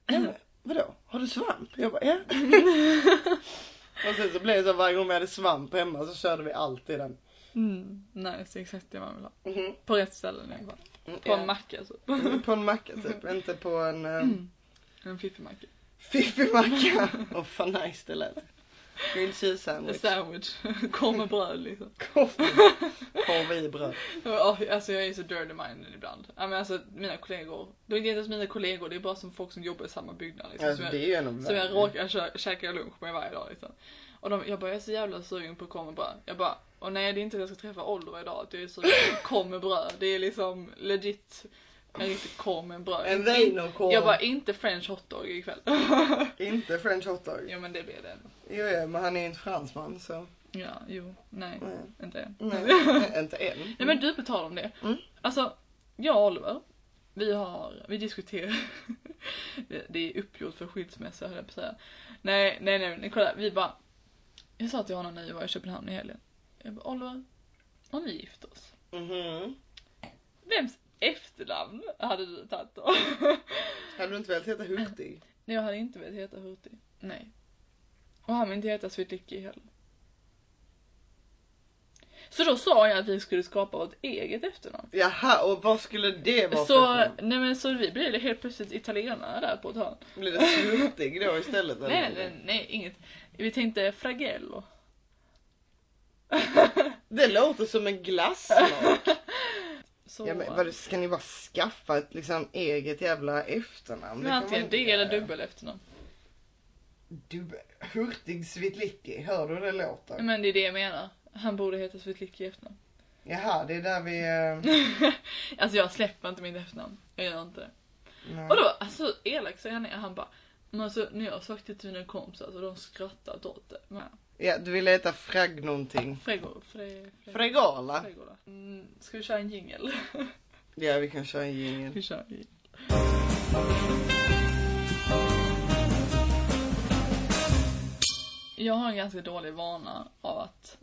S1: Nej, men, vadå? Har du svamp? Jag bara,
S2: [LAUGHS]
S1: ja. och sen så blev det så att varje gång vi hade svamp hemma så körde vi alltid den.
S2: Mm, nej, det är exakt det man vill ha.
S1: Mhm.
S2: På rätt ställen i alla fall. På en macka alltså. så.
S1: Mm, [LAUGHS] på en macka typ, inte på en eh,
S2: Mm. En fiffig macka.
S1: fiffig macka. Åh fan nice det lät. Grilled cheese
S2: En
S1: sandwich.
S2: sandwich. [LAUGHS] Korv med bröd liksom.
S1: Korv i bröd.
S2: Ja, alltså jag är så dirty minded ibland. Ja, men alltså mina kollegor. Det är inte ens mina kollegor, det är bara som folk som jobbar i samma byggnad. Liksom,
S1: Alltså,
S2: som,
S1: det
S2: jag,
S1: är ju en av
S2: som jag
S1: världens-
S2: råkar kö- käka lunch med varje dag liksom. Och de, jag bara, jag är så jävla sugen på korv med bröd. Jag bara, och nej det är inte att jag ska träffa Oliver idag, att jag är sugen på korv med bröd. Det är liksom legit en riktig korv med bröd.
S1: En wienerkorv.
S2: Jag bara, inte french hotdog ikväll.
S1: Inte french hotdog.
S2: ja men det blir det ändå.
S1: Jo, ja, men han är ju inte fransman så.
S2: Ja, jo, nej,
S1: Nej.
S2: inte än.
S1: Nej, inte än.
S2: Nej men du, på tal om det.
S1: Mm.
S2: Alltså, jag och Oliver, vi har, vi diskuterar. [LAUGHS] det, det är uppgjort för skilsmässa höll jag på att säga. Nej, nej, nej, men kolla, vi bara. Jag sa till honom när vi var i Köpenhamn i helgen. Jag bara, Oliver, om vi gifter oss.
S1: Mhm.
S2: Vems efternamn hade du tagit då? [LAUGHS]
S1: Hade du inte velat heta Hurtig?
S2: nej, jag hade inte velat heta Hurtig. Nej. Och han vill inte heta Swetliki heller. Så då sa jag att vi skulle skapa vårt eget efternamn.
S1: Jaha, och vad skulle det vara
S2: Så,
S1: för namn?
S2: nej men så vi blev helt plötsligt italienare där på ett hörn.
S1: Blir det Svurtig då istället? eller?
S2: Nej, nej, nej, inget. Vi tänkte fragello.
S1: Det låter som en glassmak.
S2: Så,
S1: ja, men, vad, ska ni bara skaffa ett liksom, eget jävla efternamn?
S2: men
S1: Det kan man
S2: antingen
S1: inte
S2: det eller
S1: göra.
S2: dubbel efternamn.
S1: Du, Hurtig Svitlicki, hör du hur det låter?
S2: Nej, Men det är det jag menar. Han borde heta Svetlicki i efternamn.
S1: Jaha, det är där vi...
S2: [LAUGHS]
S1: eh,
S2: Alltså jag släpper inte mitt efternamn. Jag gör inte det.
S1: nej.
S2: Och då, alltså så elak så han är. Han bara, men alltså när jag sagt det till mina kompisar så de skrattat åt det. Men,
S1: Ja, du ville heta Frag någonting.
S2: frego, fre, fre,
S1: Fregala?
S2: fregolo. Mm, ska vi köra en jingel? [LAUGHS]
S1: Ja, vi kan köra en jingel.
S2: vi kör en jingel. Jag har en ganska dålig vana av att...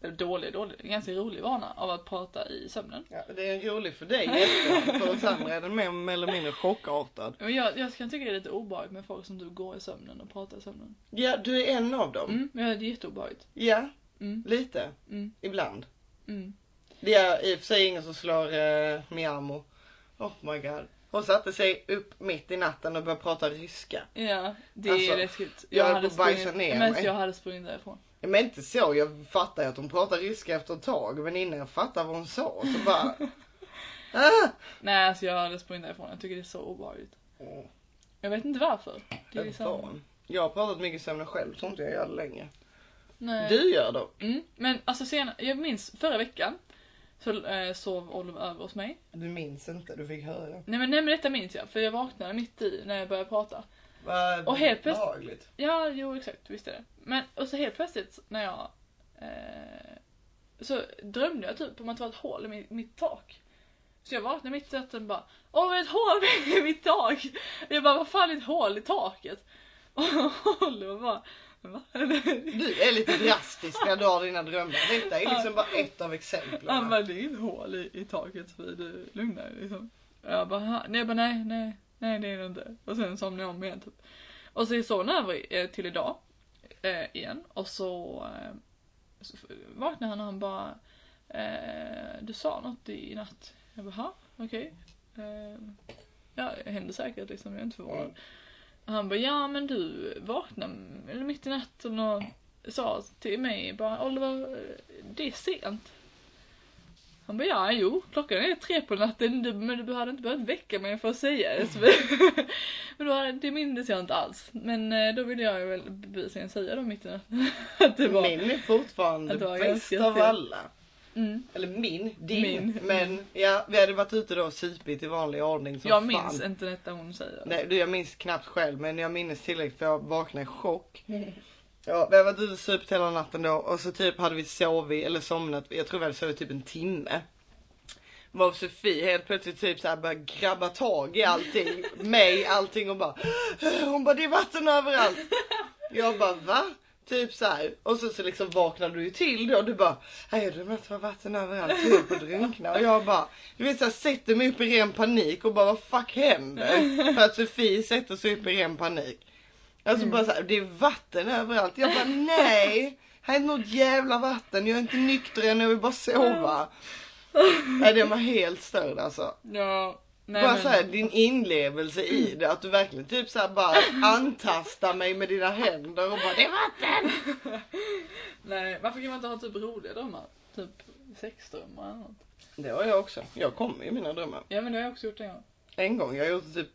S2: Eller dålig, dålig. En ganska rolig vana av att prata i sömnen.
S1: Ja, det är en rolig för
S2: [LAUGHS]
S1: dig i efterhand, för oss andra är den mer eller mindre chockartad.
S2: Men jag, jag kan tycka det är lite obehagligt med folk som du går i sömnen och pratar i sömnen.
S1: Ja, du är en av dem.
S2: Mm, men det är jätteobehagligt.
S1: Ja,
S2: Mm,
S1: lite.
S2: mm,
S1: Ibland.
S2: mm.
S1: Det är i och för sig ingen som slår eh, Miamo. Oh my god. Hon satte sig upp mitt i natten och började prata ryska.
S2: Ja, det
S1: Alltså,
S2: är läskigt.
S1: jag höll på att bajsa
S2: sprungit-
S1: ner
S2: men
S1: mig.
S2: jag hade sprungit därifrån.
S1: Men inte så, jag fattar ju att hon pratar ryska efter ett tag. Men innan jag fattar vad hon sa så
S2: [LAUGHS]
S1: bara... ah!
S2: Nej, alltså jag hade sprungit därifrån. Jag tycker det är så obehagligt. Jag vet inte varför. Det är
S1: Ett
S2: liksom...
S1: barn. Jag har pratat mycket sömn själv, tror inte jag gör det längre.
S2: Nej.
S1: Du gör det.
S2: Mm, men alltså sen, jag minns förra veckan så eh, sov Oliver över hos mig.
S1: Du minns inte, du fick höra.
S2: Nej men, nej men detta minns jag för jag vaknade mitt i när jag började prata.
S1: Vad
S2: Och helt plötsligt-
S1: behagligt.
S2: Ja, jo exakt, visst är det. Men och så helt plötsligt när jag eh, så drömde jag typ om att det var ett hål i mitt, mitt tak. Så jag vaknade mitt i natten och bara Åh, det är ett hål [LAUGHS] i mitt tak! Jag bara, vad fan är ett hål i taket? Och Oliver bara, va?
S1: Du är lite drastisk när du har dina drömmar. Detta är liksom bara ett av
S2: Han
S1: exemplen.
S2: bara, det är inget hål i, i taket så du lugna dig liksom. Och Jag bara, "Ha?" nej, jag bara nej, nej, nej det är det inte. Och sen somnade jag om igen typ. Och så är son över eh, till idag. Eh, igen. Och så, eh, så f- vaknar han och han bara eh, Du sa något i natt. Jag bara, "Ha? okej. Eh, ja, det händer säkert liksom. Jag är inte förvånad.
S1: Mm.
S2: Han bara, ja men du vaknade m- eller mitt i natten och sa till mig bara Oliver, det är sent. Han bara, ja jo, klockan är tre på natten du, men du hade inte behövt väcka mig för att säga
S1: Mm.
S2: det. Så vi- [LAUGHS] men då, hade- det mindes jag inte alls. Men eh, då ville jag ju väl bevisligen säga då mitt i natten [LAUGHS] att det var...
S1: Min är fortfarande
S2: Att det var
S1: bäst
S2: ganska
S1: av
S2: fel.
S1: alla.
S2: Mm.
S1: Eller min, din.
S2: Min. Mm.
S1: Men ja, vi hade varit ute då och supit i vanlig ordning som
S2: Jag
S1: fan.
S2: minns inte detta hon säger.
S1: Nej, du, jag minns knappt själv men jag minns tillräckligt för jag vaknade i chock.
S2: Mm.
S1: Ja, vi hade varit ute och supit hela natten då och så typ hade vi sovit eller somnat, jag tror vi hade sovit typ en timme. Var Sofie helt plötsligt typ såhär bara grabba tag i
S2: [LAUGHS]
S1: allting, mig, allting och bara Hon bara det är vatten överallt. Jag bara va? Typ så här. och så, så liksom vaknar du ju till då du bara Nej jag drömde att det var vatten överallt, jag höll på att drunkna och jag bara Du vet såhär sätter mig upp i ren panik och bara vad fuck händer? För att Sofie sätter sig upp i ren panik Alltså bara såhär, det är vatten överallt. Jag bara nej! Här är inte något jävla vatten, jag är inte nykter än, jag vill bara sova. Nej den var helt störd alltså.
S2: Ja, nej
S1: bara
S2: men,
S1: såhär din inlevelse i det, att du verkligen typ såhär bara antastar mig med dina händer och bara det är vatten!
S2: nej, varför kan man inte ha typ roliga drömmar? Typ sexdrömmar eller något.
S1: Det har jag också. Jag kommer i mina drömmar.
S2: Ja men det har jag också gjort en gång.
S1: En gång, jag har gjort typ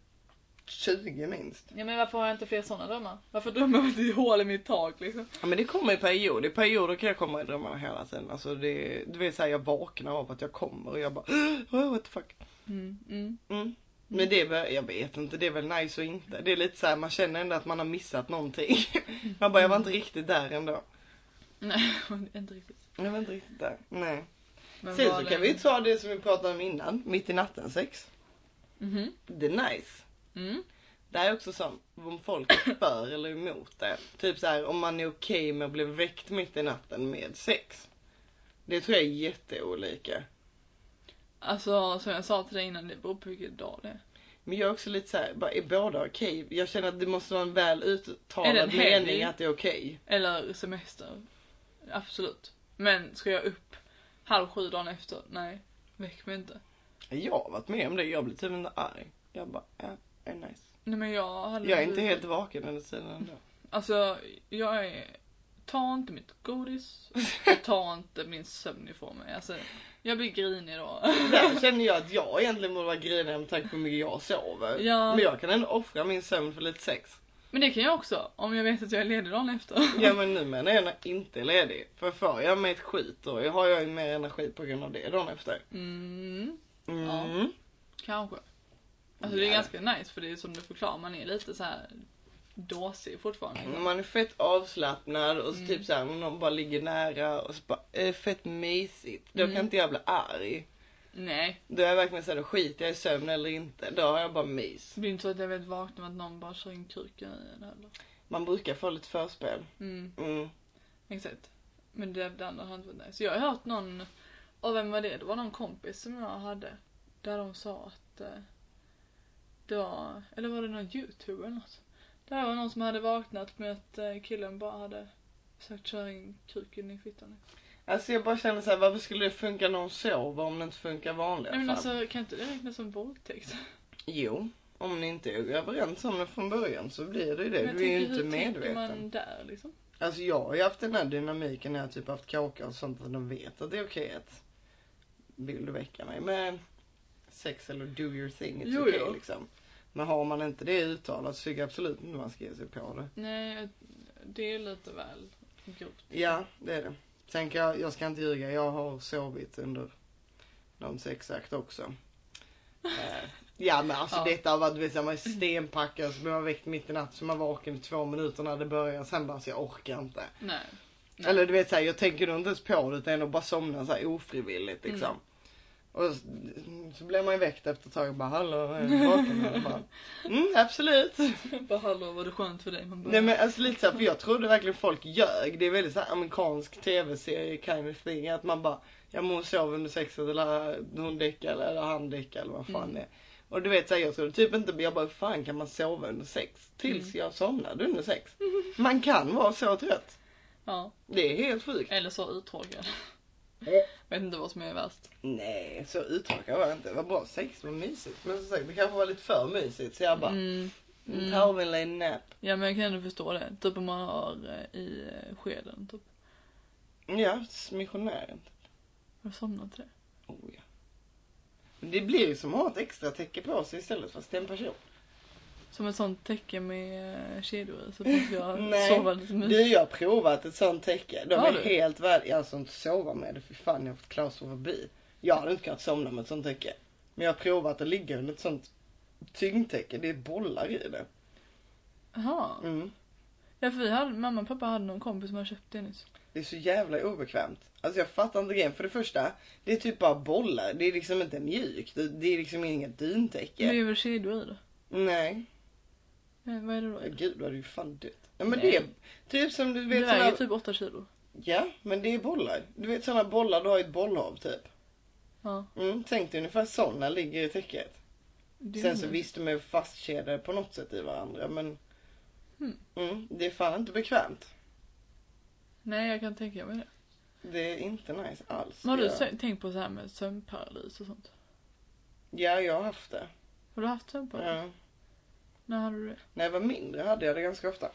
S1: 20 minst.
S2: Ja men varför har jag inte fler sådana drömmar? Varför drömmer jag inte i hål i mitt tak liksom?
S1: Ja men det kommer i perioder, i perioder kan jag komma i drömmarna hela tiden. Alltså det, du vet såhär jag vaknar av att jag kommer och jag bara oh, what the fuck.
S2: Mm, mm.
S1: Mm. Men det är väl, jag vet inte, det är väl nice och inte. Det är lite så här, man känner ändå att man har missat någonting. [LAUGHS] Man bara, jag var inte riktigt där ändå.
S2: Nej, [LAUGHS] inte riktigt.
S1: Jag var inte riktigt där. Nej.
S2: Men
S1: Sen
S2: var
S1: så
S2: det-
S1: kan vi ta det som vi pratade om innan, mitt i natten sex.
S2: Mhm.
S1: Det är nice.
S2: Mm.
S1: Det här är också sånt, om folk [COUGHS] är för eller emot det. Typ så här, om man är okej med att bli väckt mitt i natten med sex. Det tror jag är jätteolika.
S2: Alltså som jag sa till dig innan, det beror på vilken dag det är.
S1: Men jag är också lite så här, bara, är båda okej? Jag känner att det måste vara en väl
S2: Är det en
S1: uttalad
S2: helg?
S1: mening att det är okej.
S2: Eller semester. Absolut. Men ska jag upp halv sju dagen efter? Nej. Väck mig inte.
S1: Jag har varit med om det, jag blir typ inte arg. Jag bara, ja, är nice.
S2: Nej men jag hade
S1: Jag är inte helt vaken under tiden ändå.
S2: Alltså, jag är... Ta inte mitt godis och ta inte min sömn ifrån mig. Alltså, jag blir grinig då.
S1: Där känner jag att jag egentligen borde vara grinig med tanke på hur mycket jag sover.
S2: Ja.
S1: Men jag kan ändå offra min sömn för lite sex.
S2: Men det kan jag också, om jag vet att jag är ledig dagen efter.
S1: Ja men nu menar jag när jag inte är ledig. För får jag mig ett skit då har jag ju mer energi på grund av det dagen efter.
S2: Mm,
S1: Mm.
S2: Ja. kanske. Alltså det är
S1: Ja.
S2: ganska nice för det är som du förklarar, man är lite så här dåsig fortfarande.
S1: När man är fett avslappnad och så
S2: Mm.
S1: typ såhär om någon bara ligger nära och så bara, eh, fett mysigt. Då
S2: Mm.
S1: kan inte jag bli arg.
S2: Nej,
S1: Då är jag verkligen såhär, då skiter jag i sömn eller inte. Då har jag bara mys.
S2: det blir inte så att jag vet vakna med att någon bara kör in kuken i en heller.
S1: Man brukar få lite förspel.
S2: Mm,
S1: Mm.
S2: exakt. Men det, det andra har inte varit nice. Jag har hört någon, och vem var det? Det var någon kompis som jag hade. Där de sa att eh, det var, eller var det någon youtuber eller något? Det här var någon som hade vaknat med att eh, killen bara hade sagt köra in kuken i fittan.
S1: Alltså jag bara känner så här, varför skulle det funka när hon sover om det inte funkar i vanliga
S2: Nej men
S1: fall?
S2: alltså kan inte det räknas som våldtäkt?
S1: Jo, om ni inte är överens om det från början så blir det ju det.
S2: Men jag
S1: du är ju
S2: tänker,
S1: inte
S2: hur tänker
S1: medveten.
S2: man där liksom?
S1: Alltså jag har ju haft den här dynamiken när jag typ haft kaka och sånt att de vet att det är okej att vill du väcka mig med sex eller do your thing, it's
S2: Jo,
S1: okej
S2: jo.
S1: liksom. Men har man inte det uttalat så tycker jag absolut inte man ska ge sig på det.
S2: Nej, jag- det är lite väl grovt.
S1: Ja, det är det. Sen kan jag, jag ska inte ljuga, jag har sovit under någon sexakt också. Eh, ja men alltså
S2: Ja.
S1: detta har varit, du vet, så här, man är stenpackad så blir man väckt mitt i natten så man är vaken i två minuter när det börjar. Sen bara, så jag orkar inte.
S2: Nej. Nej.
S1: Eller du vet såhär, jag tänker nog inte ens på det utan jag bara somnar såhär ofrivilligt liksom.
S2: Mm.
S1: Och så, så blir man ju väckt efter ett tag och bara hallå, är du vaken? Och bara, mm, absolut.
S2: Bara hallå var det skönt för dig? Man bara,
S1: Nej men alltså lite såhär, för jag trodde verkligen folk ljög. Det är väldigt såhär amerikansk tv-serie kind of thing. Att man bara, ja men hon sov under sexet eller hon däckade eller han däckade eller vad fan
S2: Mm.
S1: det är. Och du vet så här, jag trodde typ inte, jag bara hur fan kan man sova under sex?
S2: Mm.
S1: Tills jag somnade under
S2: [LAUGHS]
S1: sex. Man kan vara så trött.
S2: Ja.
S1: Det är helt sjukt.
S2: Eller så uttråkad.
S1: Eh.
S2: [LAUGHS] Vet inte vad som är värst.
S1: Nej, så uttråkad var jag inte. Det var bra sex, men mysigt. Men som sagt, det kanske var lite för mysigt så jag bara,
S2: Mm. Mm.
S1: tar väl en nap.
S2: Ja men jag kan ändå förstå det. Typ om man har eh, i eh, skeden. Typ.
S1: Ja, missionären.
S2: Har du somnat till det?
S1: Oh, ja. Men det blir ju som att ha ett extra täcke på sig istället fast det är en person.
S2: Som ett sånt täcke med eh, kedjor i så att
S1: [LAUGHS]
S2: jag
S1: Nej.
S2: sova lite mysigt.
S1: Du, jag har provat ett sånt täcke. De
S2: Har
S1: är
S2: du?
S1: helt värda. Jag har alltså inte sova med det. Fy fan, jag har fått klaustrofobi. Jag hade inte kunnat somna med ett sånt täcke. Men jag har provat att ligga under ett sånt tyngdtäcke. Det är bollar i det.
S2: Jaha.
S1: Mm.
S2: Ja för vi hade, mamma och pappa hade någon kompis som hade köpt det nyss.
S1: Det är så jävla obekvämt. Alltså jag fattar inte grejen. För det första, det är typ bara bollar. Det är liksom inte mjukt. Det- Det är liksom inget
S2: Men det
S1: dyntäcke.
S2: är väl kedjor i det?
S1: Nej.
S2: Eh, vad är det då? i det?
S1: Gud, då hade du fan dött. Nej, men
S2: Nej.
S1: det är typ som du vet
S2: det väger
S1: såna...
S2: typ 8 kilo.
S1: Ja, men det är bollar. Du vet såna bollar du har i ett bollhav typ.
S2: Ja.
S1: Mm, tänk dig ungefär såna ligger i täcket.
S2: Det är
S1: Sen så
S2: mysigt.
S1: visst de är fastkedjade på något sätt i varandra men
S2: Hmm.
S1: mm, det är fan inte bekvämt.
S2: Nej jag kan tänka mig det.
S1: Det är inte nice alls.
S2: Men har du
S1: jag,
S2: sö- tänkt på så här med sömnparalys och sånt?
S1: Ja, jag har haft det.
S2: Har du haft sömnparalys?
S1: Ja.
S2: När hade du det?
S1: När jag var mindre hade jag det ganska ofta.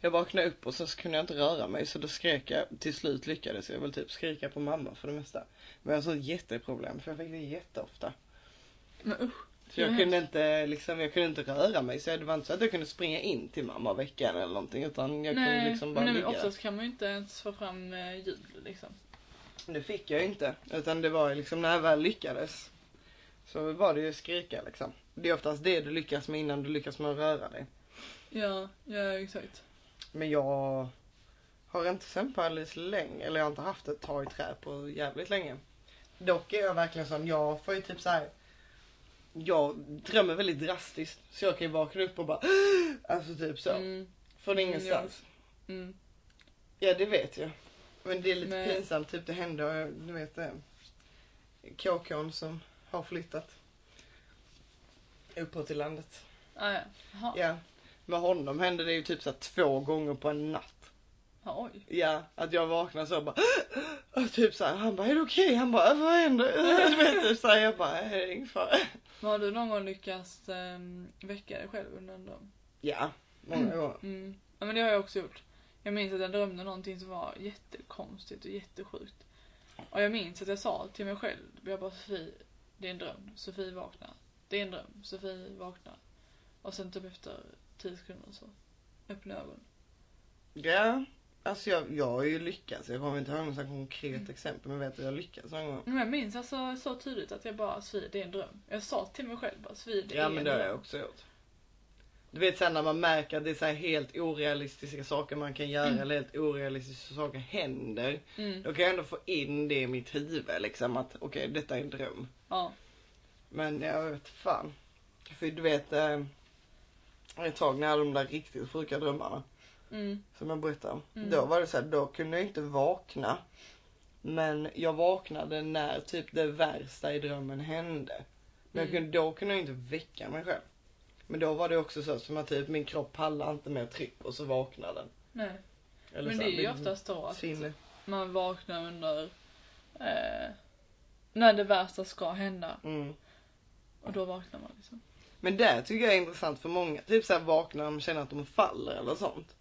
S1: Jag vaknade upp och sen så kunde jag inte röra mig så då skrek jag. Till slut lyckades jag väl typ skrika på mamma för det mesta. Men jag såg ett jätteproblem för jag fick det jätteofta.
S2: Men usch.
S1: Så jag
S2: Det är
S1: kunde inte liksom, jag kunde inte röra mig så det var inte så att jag kunde springa in till mamma och väcka henne eller någonting utan jag kunde liksom bara
S2: men
S1: ligga.
S2: oftast kan man ju inte ens få fram eh, ljud liksom.
S1: Det fick jag ju inte. Utan det var ju liksom när jag väl lyckades. Så var det ju skrika liksom. Det är oftast det du lyckas med innan du lyckas med att röra dig.
S2: Ja, ja exakt.
S1: Men jag har inte sömnparalys länge. Eller jag har inte haft ett tag i trä på jävligt länge. Dock är jag verkligen sån. Jag får ju typ så här. Jag drömmer väldigt drastiskt. Så jag kan ju vakna upp och bara. [GASPS] Alltså typ så.
S2: Mm,
S1: Från
S2: Mm,
S1: ingenstans.
S2: mm.
S1: Ja det vet jag. Men det är lite
S2: Nej.
S1: pinsamt. Typ det hände, du vet det. KKn som har flyttat. Uppåt i landet.
S2: Ah, ja. Jaha.
S1: Ja. Med honom hände det ju typ så här två gånger på en natt.
S2: Ja, oj.
S1: Ja, att jag vaknade så och bara [GASPS] och typ så här, han bara är det okej? Han bara vad händer? [LAUGHS] Du vet typ så här, jag bara "Nej, det är ingen fara.
S2: Men har du någon gång lyckats ehm, väcka dig själv under en dröm?
S1: Ja, många gånger.
S2: Mm. Ja men det har jag också gjort. Jag minns att jag drömde någonting som var jättekonstigt och jättesjukt. Och jag minns att jag sa till mig själv, jag bara Sofie, det är en dröm. Sofie vakna. Det är en dröm. Sofie vakna. Och sen typ efter 10 sekunder så öppnade jag ögonen.
S1: Ja, alltså jag, jag har ju lyckats. Jag kommer inte ihåg något sånt här konkret exempel men jag vet att jag lyckats någon gång.
S2: Men jag minns alltså så tydligt att jag bara Sofie, det är en dröm. Jag sa till mig själv bara Sofie, det
S1: Ja
S2: är
S1: men
S2: en
S1: det har jag
S2: dröm.
S1: också gjort. Du vet sen när man märker att det är så här helt orealistiska saker man kan göra eller helt orealistiska saker händer.
S2: Mm.
S1: Då kan jag ändå få in det i mitt huvud liksom att okej detta är en dröm.
S2: Ja.
S1: Men jag vet fan. För du vet eh, ett tag när jag hade de där riktigt sjuka drömmarna
S2: Mm.
S1: som jag berättade om.
S2: Mm.
S1: Då var det så här, då kunde jag inte vakna. Men jag vaknade när typ det värsta i drömmen hände. Men jag
S2: Mm.
S1: kunde, då kunde jag inte väcka mig själv. Men då var det också så som att typ min kropp pallade inte med tryck och så vaknade den.
S2: Nej.
S1: Eller
S2: Men
S1: så
S2: det
S1: här,
S2: är ju
S1: min
S2: oftast då att
S1: sinne.
S2: man vaknar under eh, när det värsta ska hända.
S1: Mm.
S2: Och då vaknar man liksom.
S1: Men det tycker jag är intressant för många. Typ så här vaknar de och känner att de faller eller sånt.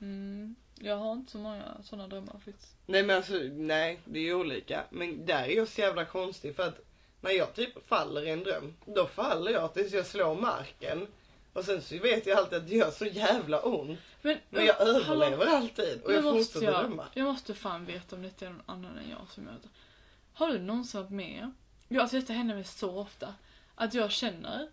S2: Mm, jag har inte så många sådana drömmar faktiskt.
S1: Nej men alltså nej det är ju olika. Men där är jag så jävla konstig för att när jag typ faller i en dröm då faller jag tills jag slår marken. Och sen så vet jag alltid att det gör så jävla ont.
S2: Men,
S1: Men jag
S2: hallå,
S1: överlever alltid och
S2: nu
S1: jag
S2: måste
S1: fortsätter
S2: jag,
S1: drömma.
S2: jag måste fan veta om det är någon annan än jag som gör det. Har du någonsin varit med? Ja, alltså detta händer mig så ofta. Att jag känner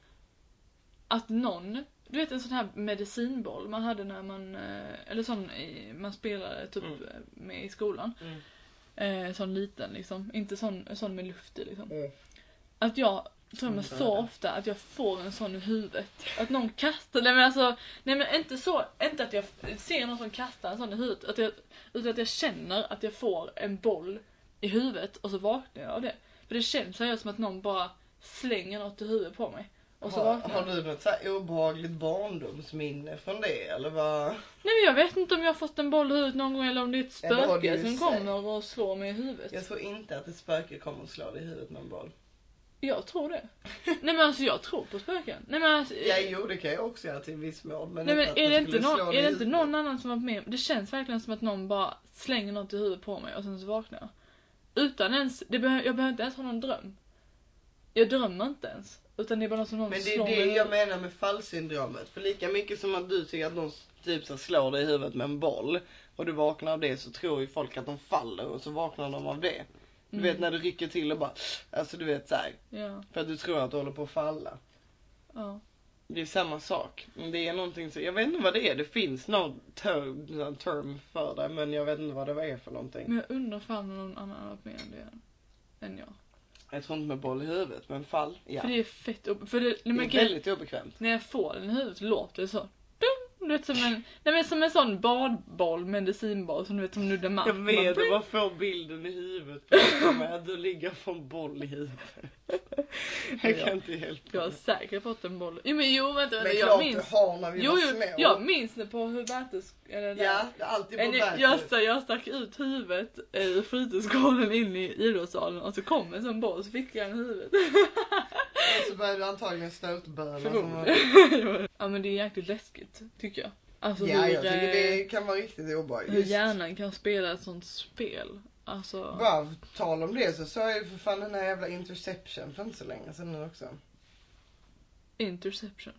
S2: att någon, du vet en sån här medicinboll man hade när man, eh, eller sån i, man spelade typ
S1: Mm.
S2: eh, med i skolan.
S1: Mm.
S2: Eh, sån liten liksom, inte sån, sån med luft i liksom.
S1: Mm.
S2: Att jag drömmer
S1: Som
S2: så
S1: döda.
S2: ofta att jag får en sån i huvudet. Att någon kastar, nej men alltså, nej men inte så, inte att jag ser någon som kastar en sån i huvudet. Att jag, utan att jag känner att jag får en boll i huvudet och så vaknar jag av det. För det känns seriöst som att någon bara slänger något i huvudet på mig. Och så
S1: har,
S2: vaknar
S1: har
S2: jag.
S1: du något så här obehagligt barndomsminne från det eller vad?
S2: Nej men jag vet inte om jag har fått en boll i huvudet någon gång eller om det är ett
S1: Ja, det har
S2: spöke
S1: du ju
S2: som
S1: sagt.
S2: kommer och slår mig i huvudet.
S1: Jag tror inte att ett spöke kommer att slå dig i huvudet med en boll.
S2: Jag
S1: [LAUGHS]
S2: tror det. Nej men alltså jag tror på spöken. Nej men alltså,
S1: Ja, jo det kan jag också göra till viss mån. Men,
S2: Nej men
S1: att
S2: är
S1: den
S2: det, inte
S1: skulle
S2: någon,
S1: slå
S2: är
S1: dig i
S2: det inte
S1: huvudet.
S2: någon annan som varit med om- Det känns verkligen som att någon bara slänger något i huvudet på mig och sen så vaknar jag. Utan ens, det behö, jag behöver inte ens ha någon dröm. Jag drömmer inte ens. Utan det är bara något som någon
S1: Men det
S2: slår
S1: är
S2: mig i
S1: det jag
S2: huvudet.
S1: menar med fallsyndromet. För lika mycket som att du tycker att någon typ så här slår dig i huvudet med en boll och du vaknar av det så tror ju folk att de faller och så vaknar de av det. Du
S2: Mm.
S1: vet när du rycker till och bara, alltså du vet såhär,
S2: Ja,
S1: för att du tror att du håller på att falla.
S2: ja.
S1: Det är samma sak. Men Det är någonting så, jag vet inte vad det är, det finns någon term, någon term för det men jag vet inte vad det är för någonting.
S2: Men jag undrar fan om någon annan har varit med om det än- än jag.
S1: Jag tror inte med boll i huvudet men fall, ja.
S2: För det är fett ob- för det, nej, men
S1: Det är väldigt obekvämt.
S2: När jag får den i huvudet låter det så. Dum, du vet som en, nej, men som en sån badboll, medicinboll som du vet som nuddar mark.
S1: Jag vet,
S2: Man-
S1: man får bilden i huvudet framför mig att du ligger på en boll i huvudet. Jag kan inte
S2: Jag
S1: hjälpa
S2: har
S1: det.
S2: säkert fått en boll. Jo men jo vänta,
S1: Men
S2: vänta jag
S1: klart
S2: minns.
S1: du har när vi
S2: Jo,
S1: var
S2: jo
S1: små.
S2: jag minns det på hur Bertus... Eller där.
S1: Ja, det är alltid på
S2: Eller,
S1: väg.
S2: jag, stack, jag stack ut huvudet ur fritidsgården in i idrottssalen och så kom en sån boll och så fick jag den i huvudet. [LAUGHS]
S1: Och så börjar du antagligen snutböla.
S2: Förmodligen. ja men det är jäkligt läskigt tycker jag. Alltså
S1: Ja,
S2: hur,
S1: jag tycker
S2: eh,
S1: det kan vara riktigt
S2: hur
S1: obehagligt.
S2: hjärnan kan spela ett sånt spel. Alltså...
S1: Bara på tal om det så såg jag ju för fan den här jävla interception för inte så länge sedan nu också.
S2: Interception.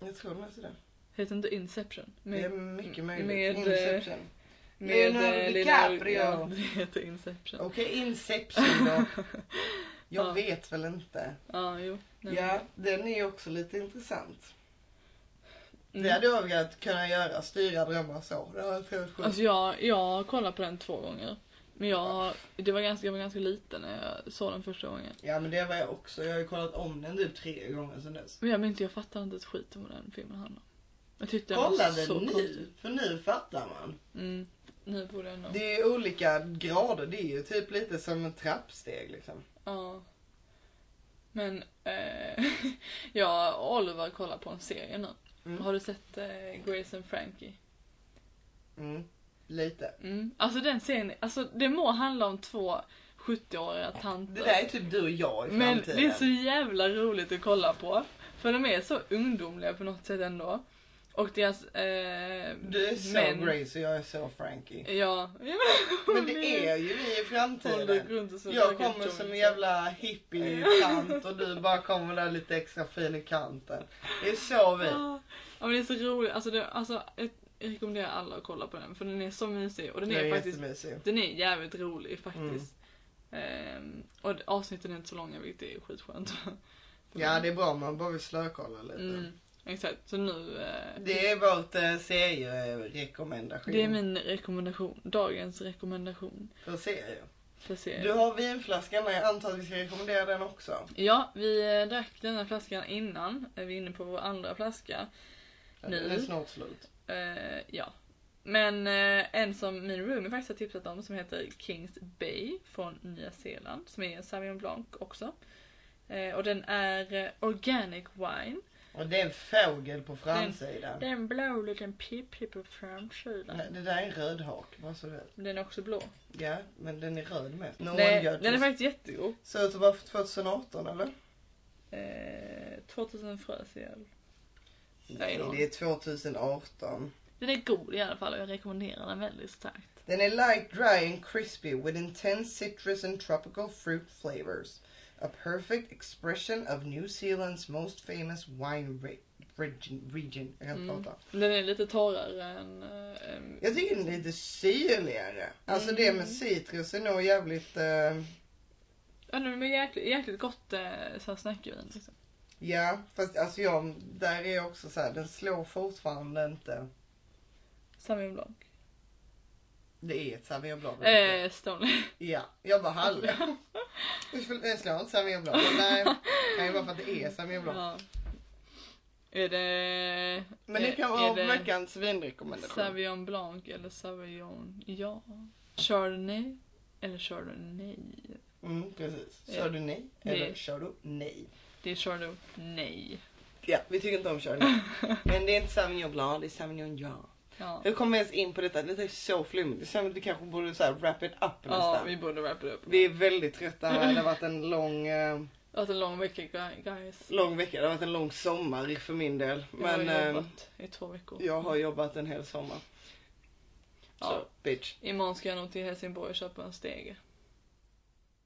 S1: Jag tror nästan det.
S2: Heter inte Inception?
S1: Det är mycket möjligt.
S2: med, eh,
S1: Interception.
S2: med,
S1: Leonardo
S2: eh,
S1: DiCaprio. Oh,
S2: [LAUGHS] Ja, det heter Inception.
S1: Okej, Inception
S2: [LAUGHS]
S1: då. Jag
S2: Ja.
S1: vet väl inte.
S2: Ja, jo. Nej,
S1: Ja, den är ju också lite intressant.
S2: men-
S1: Det hade jag velat kunna göra, styra drömmar så. Det har jag trott själv.
S2: Alltså jag, jag kollade på den två gånger. Men jag, det var ganska, jag var ganska liten när jag såg den första gången.
S1: Ja men det var jag också. Jag har ju kollat om den typ tre gånger sedan dess.
S2: Men jag minns inte, jag fattade inte ett skit om vad den filmen handlade om. Jag tyckte den
S1: Kolla
S2: var så
S1: den
S2: konstig.
S1: nu, för nu fattar man.
S2: Mm, nu borde jag nog.
S1: Det är ju olika grader. Det är ju typ lite som en trappsteg liksom.
S2: Ja. Men eh, [LAUGHS] jag och Oliver kollar på en serie nu.
S1: Mm.
S2: Har du sett eh, Grace and Frankie?
S1: Mm. Lite.
S2: Mm. Alltså den serien, alltså det må handla om två 70-åriga tanter.
S1: Det där är typ du och jag i
S2: Men
S1: framtiden.
S2: det är så jävla roligt att kolla på. För de är så ungdomliga på något sätt ändå. Och deras eh,
S1: Du är så
S2: män-
S1: Grace och jag är så
S2: [LAUGHS]
S1: Frankie.
S2: Ja.
S1: Men det är ju vi i
S2: Håller
S1: framtiden.
S2: runt och så
S1: Jag
S2: försöker
S1: kommer som
S2: joina.
S1: en jävla hippie-tant och du bara kommer där lite extra fin i kanten. Det är så vi.
S2: Ja men det är så roligt. Alltså, det, alltså jag jag rekommenderar alla att kolla på den. För den är så mysig. Och den
S1: Det
S2: är,
S1: är
S2: faktiskt
S1: jättemysig. Mm.
S2: den är jävligt rolig faktiskt. Ehm, och avsnitten är inte så långa vilket är skitskönt.
S1: Ja det är bra om man bara vill slökolla lite.
S2: Mm, exakt, så nu... eh,
S1: Det är vårt eh, serierekommendation.
S2: det är min rekommendation. Dagens rekommendation
S1: För serier.
S2: för serien.
S1: Du har vinflaskan där, jag antar att vi ska rekommendera den också.
S2: Ja, vi eh, drack denna flaskan innan. Eh, Vi är inne på vår andra flaska. Nu.
S1: Det är snart slut.
S2: Eh, ja. Men eh, en som min roomie faktiskt har tipsat om som heter Kings Bay från Nya Zeeland. Som är en Sauvignon Blanc också. Eh, och den är eh, Organic Wine.
S1: Och det är en fågel på framsidan.
S2: Det är en blå liten pippi på framsidan.
S1: Nej, Det där är en rödhak, vad så du vet.
S2: Den är också blå.
S1: Ja, men den är röd med. No
S2: Det-
S1: one judges.
S2: den är faktiskt jättegod.
S1: Ser ut att vara 2018 eller?
S2: Eh, 2000 frös ihjäl. Nej,
S1: Nej,
S2: då.
S1: det är 2018.
S2: Den är god i alla fall och jag rekommenderar den väldigt starkt.
S1: Then a light, dry, and crispy with intense citrus and tropical fruit flavors. A perfect expression of New Zealand's most famous wine re- region. region. Jag kan inte
S2: Mm.
S1: prata.
S2: Den är lite torrare än... eh, em,
S1: Jag tycker den är lite syrligare. Alltså det
S2: Mm.
S1: med citrus är nog jävligt... eh,
S2: Ja, den är jäkligt, jäkligt gott eh, så här snackvin. Liksom.
S1: ja, fast alltså jag, där är jag också så här, den slår fortfarande inte.
S2: Sauvignon Blanc.
S1: Det är ett Sauvignon Blanc.
S2: Eh, Stoneley.
S1: Ja, jag bara hallå.
S2: [LAUGHS]
S1: Jag slår inte Sauvignon Blanc. Nej, det kan ju vara för att det är Sauvignon Blanc.
S2: Ja. Är det...
S1: Men det
S2: är-
S1: kan
S2: Eh, är
S1: vara
S2: det
S1: veckans vinrekommendation.
S2: Sauvignon Blanc eller Sauvignon... Ja. Chardonnay eller Chardonnay?
S1: Mm, precis.
S2: Ja.
S1: Kör du nej?
S2: Det-
S1: Eller kör du nej?
S2: Det kör du nej.
S1: Ja, vi tycker inte om kör
S2: [LAUGHS]
S1: nej. Men det är inte Sauvignon Blanc, det är Sauvignon Jan.
S2: Ja,
S1: Hur kom vi ens in på detta? Det är så flummigt. Det känns att vi kanske borde så här wrap it up
S2: ja
S1: nästan.
S2: vi
S1: Vi...
S2: borde wrap it up.
S1: är väldigt trötta. Det har varit en lång, eh,
S2: Det har varit en lång vecka gu- guys.
S1: lång vecka. Det har varit en lång sommar för min del. Men eh,
S2: jag
S1: jag,
S2: har jobbat i två veckor.
S1: jag har jobbat en hel sommar.
S2: Ja.
S1: Så bitch.
S2: Imorgon ska jag nog till Helsingborg och köpa en stege.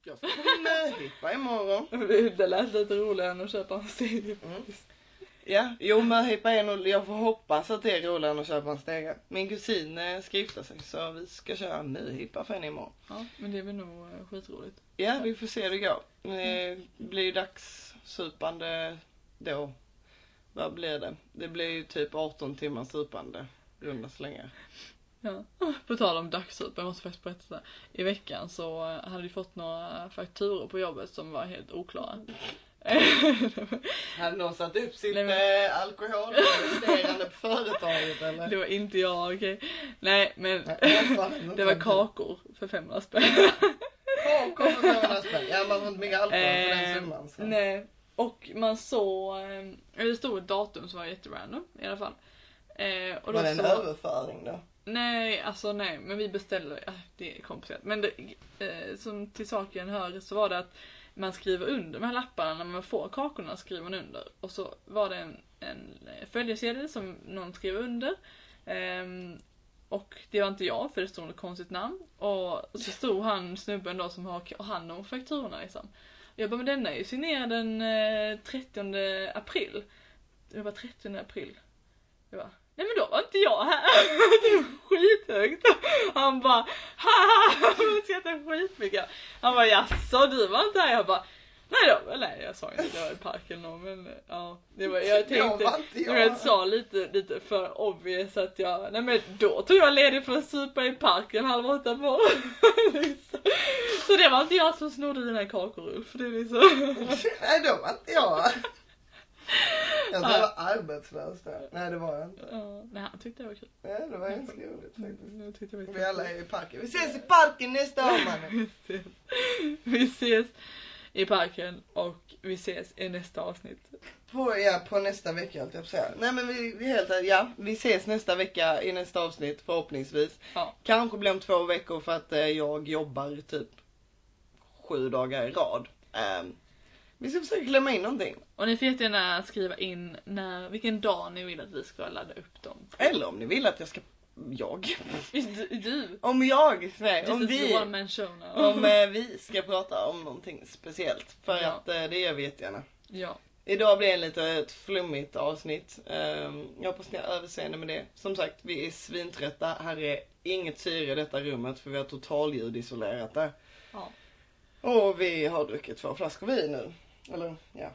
S1: Jag ska på möhippa imorgon.
S2: [LAUGHS] Det lät lite roligare än att köpa en stege.
S1: Mm. Ja, jo möhippa är nog, jag får hoppas att det är roligare än att köpa en stege. Min kusin eh, ska gifta sig så vi ska köra möhippa för henne imorgon.
S2: Ja, men det blir nog eh, skitroligt.
S1: Ja, vi får se hur det går. Eh, Det blir ju dagssupande då. Vad blir det? Det blir ju typ 18 timmars supande. Runda slängar.
S2: Ja. [LAUGHS] På tal om dagssup, jag måste faktiskt berätta det. I veckan så eh, hade vi fått några fakturor på jobbet som var helt oklara. [LAUGHS]
S1: Hade någon satt upp sitt
S2: Nej,
S1: eh, alkoholregistrerande på företaget eller?
S2: Det var inte jag, okej. Nej, men [LAUGHS]
S1: Nej, jag fattar inte.
S2: det var kakor för [LAUGHS] 500 spänn.
S1: Kakor för 500 spänn. Ja, man får inte mycket alkohol för
S2: Eh,
S1: den summan. Så.
S2: Nej, och man såg, eh, det stod ett datum som var jätterandom i alla fall. Eh, och
S1: Var det en
S2: så,
S1: överföring då?
S2: Nej, alltså nej, men vi beställde, ja, det är komplicerat. Men det, eh, som till saken hör så var det att man skriver under de här lapparna när man får kakorna skriver man under. Och så var det en, en följesedel som någon skrev under. Ehm, och det var inte jag för det stod ett konstigt namn. Och så stod han snubben då som har hand om fakturorna liksom. Och jag bara, men denna är ju signerad den eh, 30 april. Det var 30 april. Jag bara, nej men då var inte jag här. [LAUGHS] Det var skithögt. Han bara, haha, jag skrattade skitmycket. Han bara, jaså du var inte här? Jag bara, nej då, nej jag sa inte att jag var i parken då, men eh, ja. Det var, jag
S1: Då var inte
S2: tänkte,
S1: jag
S2: jag, jag
S1: här.
S2: sa lite, lite för obvious att jag, nej men då tog jag ledigt för att supa i parken halv åtta på. [LAUGHS] liksom. Så det var inte jag som snodde dina kakor Ulf, det är liksom.
S1: Nej, då var inte jag. Jag tror jag var arbetslös där. Nej, det var jag inte.
S2: Ja, nej han tyckte det var kul.
S1: Nej, det var ganska roligt faktiskt.
S2: Jag tyckte det var
S1: Mm. Vi alla är i parken. Vi ses i parken nästa år mannen.
S2: Vi ses. Vi ses i parken och vi ses i nästa avsnitt.
S1: På, ja, på nästa vecka höll jag på att säga. Nej men vi, vi är helt ja, vi ses nästa vecka i nästa avsnitt förhoppningsvis.
S2: Ja.
S1: Kanske blir om två veckor för att eh, jag jobbar typ sju dagar i rad. Ehm, vi ska försöka glömma in någonting.
S2: Och ni får jättegärna skriva in när, vilken dag ni vill att vi ska ladda upp dem.
S1: Eller om ni vill att jag ska, jag.
S2: Du, du
S1: Om jag, nej, om
S2: this is
S1: vi.
S2: your one man show now.
S1: [LAUGHS] Om eh, vi ska prata om någonting speciellt. För
S2: Ja.
S1: att eh, det gör vi jättegärna.
S2: Ja,
S1: Idag blir det lite ett flummigt avsnitt. Ehm, jag hoppas ni har överseende med det. Som sagt, vi är svintrötta. Här är inget syre i detta rummet för vi har totaljudisolerat det.
S2: ja.
S1: Och vi har druckit två flaskor vin nu. Eller ja.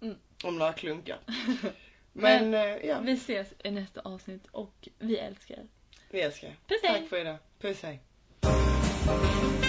S2: Mm.
S1: Om några
S2: [LAUGHS]
S1: klunkar.
S2: Men-
S1: Men, eh, ja,
S2: Vi ses i nästa avsnitt och vi älskar er.
S1: vi älskar er.
S2: Puss hej!
S1: Tack för idag. Puss hej.